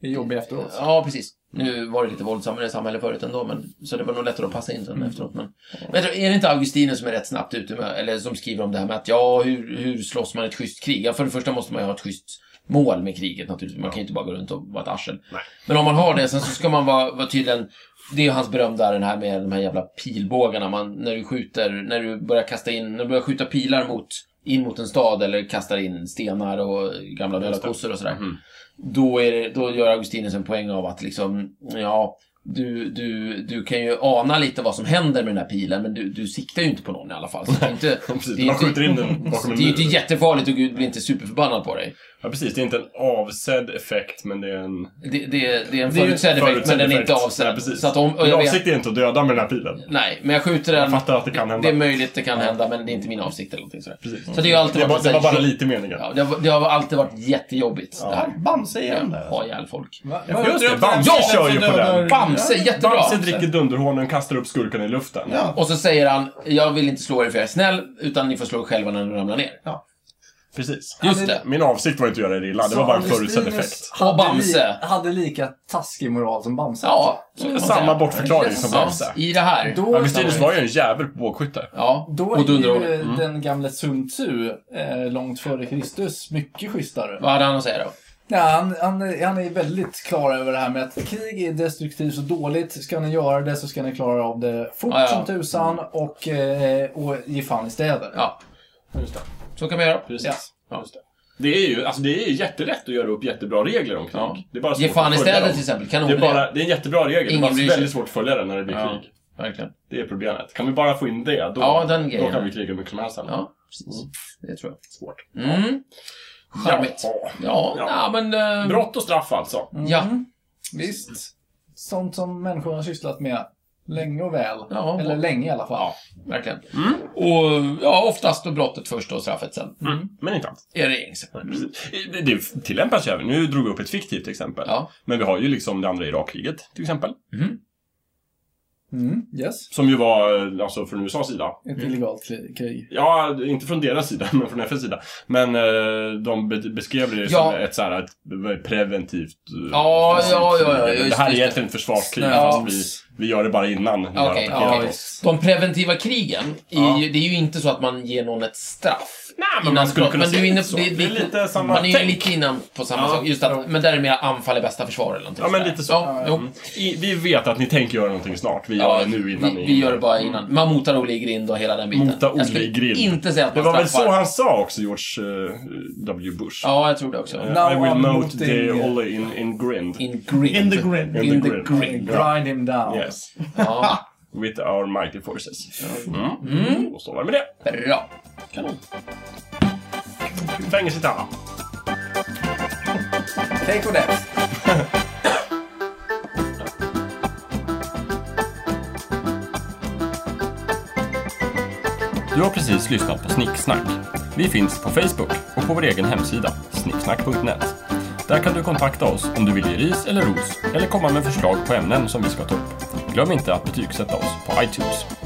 C: Det är jobbigt efteråt.
B: Ja, precis. Nu
D: Mm.
B: var det lite våldsammare samhälle förut ändå, men, så det var nog lättare att passa in
D: Mm.
B: sen efteråt. Men, men jag tror, är det inte Augustinen som är rätt snabbt ute med, eller som skriver om det här med att ja, hur, hur slåss man ett schysst krig? Ja, för det första måste man ju ha ett schysst mål med kriget naturligtvis. Man kan ju inte bara gå runt och vara ett arsel.
D: Nej.
B: Men om man har det, sen så ska man vara, vara tydligen det är ju hans berömda den här med de här jävla pilbågarna. Man, när du skjuter, när du börjar kasta in, när du börjar skjuta pilar mot, in mot en stad eller kastar in stenar och gamla döda
D: Just det.
B: kossor och sådär
D: Mhm.
B: då, är det, då gör Augustinus en poäng av att liksom, ja, du, du, du kan ju ana lite vad som händer med den här pilen, men du, du siktar ju inte på någon i alla fall. Så det är inte,
D: Precis,
B: det är
D: man
B: inte-
D: skjuter in den bakom
B: det
D: en
B: är ju
D: mur.
B: inte jättefarligt och Gud blir inte superförbannad på dig.
D: Ja, precis. Det är inte en avsedd effekt, men det är en...
B: Det, det, det är en
A: Det är ju
B: förutsedd effekt, men
D: förutsedd
B: den är
D: effekt.
B: inte
D: Ja,
B: avsedd.
D: precis.
B: så att om, och
D: Min
B: jag vet,
D: avsikt är inte att döda med den här pilen.
B: nej, men jag skjuter den.
D: Jag fattar att det kan hända.
B: Det är möjligt det kan hända, men det är inte min avsikt eller någonting sådär.
D: Precis.
B: Så det, är ju alltid
D: Mm. Det var,
B: varit
D: det var
B: så här-
D: bara lite meningen.
B: Ja, det, har, det har alltid varit jättejobbigt, det här.
A: Bamse igen
B: Ja,
A: där.
B: Ha ihjäl folk.
C: Va-
D: Ja,
C: vad-
D: just det.
A: Drar upp den här
D: Bamse
A: killen
D: kör
A: som
D: ju på
A: dödar-
D: den.
B: Bamse, jättebra!
D: Bamse dricker dunderhonung, kastar upp skurken i luften.
A: Ja.
B: Och så säger han, jag vill inte slå er för jag är snäll, utan ni får slå er själva när ni ramlar ner.
A: Ja.
D: Precis.
B: Just det.
D: Min avsikt var inte att göra er illa, det var bara en förutsedd effekt.
B: Och Bamse.
C: Li, hade lika taskig moral som Bamse.
B: Ja, så kan man
D: Samma
B: säga.
D: bortförklaring
C: Yes.
D: som
B: Ja,
D: Bamse.
B: I det här.
C: Då,
D: Augustinus var ju en jävel på bågskytte.
B: ja,
C: då
B: och
C: är ju
B: dunderhålet.
D: Mm.
C: eh, den gamle Sun Tzu, eh, långt före Kristus, mycket schysstare.
B: Vad hade han att säga då?
C: Ja, han, han, är- han är väldigt klar över det här med att krig är destruktivt och dåligt. Ska ni göra det så ska ni klara av det fort
B: Ja, ja.
C: som tusan och, eh, och ge fan i städer.
B: Ja,
E: Just det.
B: så kan man göra.
E: Precis.
B: Ja.
E: Just det. det är ju alltså, det är ju jättelätt att göra upp jättebra regler om krig.
B: Ja.
E: Det är bara svårt
B: Ge fan
E: att
B: i
E: följa
B: städer
E: dem.
B: till exempel. Kanon
D: Det är, bara, det är en jättebra regel,
B: Ingen bryr
D: det är
B: sig.
D: bara väldigt svårt att följa den när det blir
B: Ja.
D: krig.
B: Verkligen.
D: Det är problemet. Kan vi bara få in det, då,
B: Ja, den
D: då
B: grejen.
D: kan vi kriga hur mycket som helst sen.
B: Ja, precis. Det tror
D: Svårt.
B: jag. Mm. Charmigt.
D: Jaha.
B: Ja,
D: Ja.
B: ja. men... eh,
D: Brott och straff alltså.
B: Ja.
C: Mm. Visst. Sånt som människor har sysslat med länge och väl.
B: Ja,
C: Eller
B: och-
C: länge i alla fall.
B: Ja, verkligen. Och ja, oftast då brottet först och straffet sen.
D: Men inte allt.
B: Är det gängse.
D: Det- Det tillämpas ju även. Nu drog vi upp ett fiktivt exempel.
B: Ja.
D: Men vi har ju liksom det andra Irakkriget, till exempel.
C: Mm, yes.
D: Som ju var, eh, alltså från USAs sida.
C: Ett
B: Mm.
C: illegalt kri- krig.
D: Ja, inte från deras sida, men från FNs sida. Men eh, de be- beskrev det
B: Ja.
D: som ett, så här, ett vad är det, preventivt... eh,
B: Ja,
D: offensivt
B: ja, ja, ja,
D: krig.
B: just-
D: Det här är
B: just
D: egentligen ett försvarskrig,
B: Snö.
D: fast vi, vi gör det bara innan. de här
B: Okej,
D: attackerar
B: ja,
D: oss.
C: visst.
B: De preventiva krigen, är
D: Ja.
B: ju, det är ju inte så att man ger någon ett straff.
D: Nej, men
B: innan
D: man skulle
B: brott,
D: kunna
B: men du är
D: säga
B: inne,
D: så.
B: det,
D: Det är lite samma
B: Man är ju
D: tänk.
B: lite inne på samma
D: Ja,
B: sak. Just att, men där är det mer anfall är bästa försvar eller någonting
D: Ja, men
B: sådär.
D: lite så.
B: Ja, jo.
D: I, vi vet att ni tänker göra någonting snart. Vi gör
B: Ja,
D: det Mm. nu innan
B: vi,
D: ni...
B: vi gör det bara innan. Man motar Olle i grind och hela den biten.
D: Mota
B: Jag
D: Olle
B: skulle
D: i grind.
B: inte säga att
D: Det
B: man
D: var väl
B: straffar.
D: så han sa också, George eh, W. Bush.
B: Ja, jag tror det också.
D: Eh,
C: Now
D: I will
C: I'm
D: note
C: moting-
D: the Olle in, in grind.
B: In grind.
A: In the grind.
B: In, the grind.
C: Grind him down.
D: Yes.
B: Ja,
D: With our mighty forces. Mm. Och så var det med det.
B: bra.
D: Kanon. Fängelse till alla.
C: Take for that.
D: Du har precis lyssnat på Snicksnack. Vi finns på Facebook och på vår egen hemsida, snicksnack.net. Där kan du kontakta oss om du vill ge ris eller ros eller komma med förslag på ämnen som vi ska ta upp. Glöm inte att betygsätta oss på iTunes.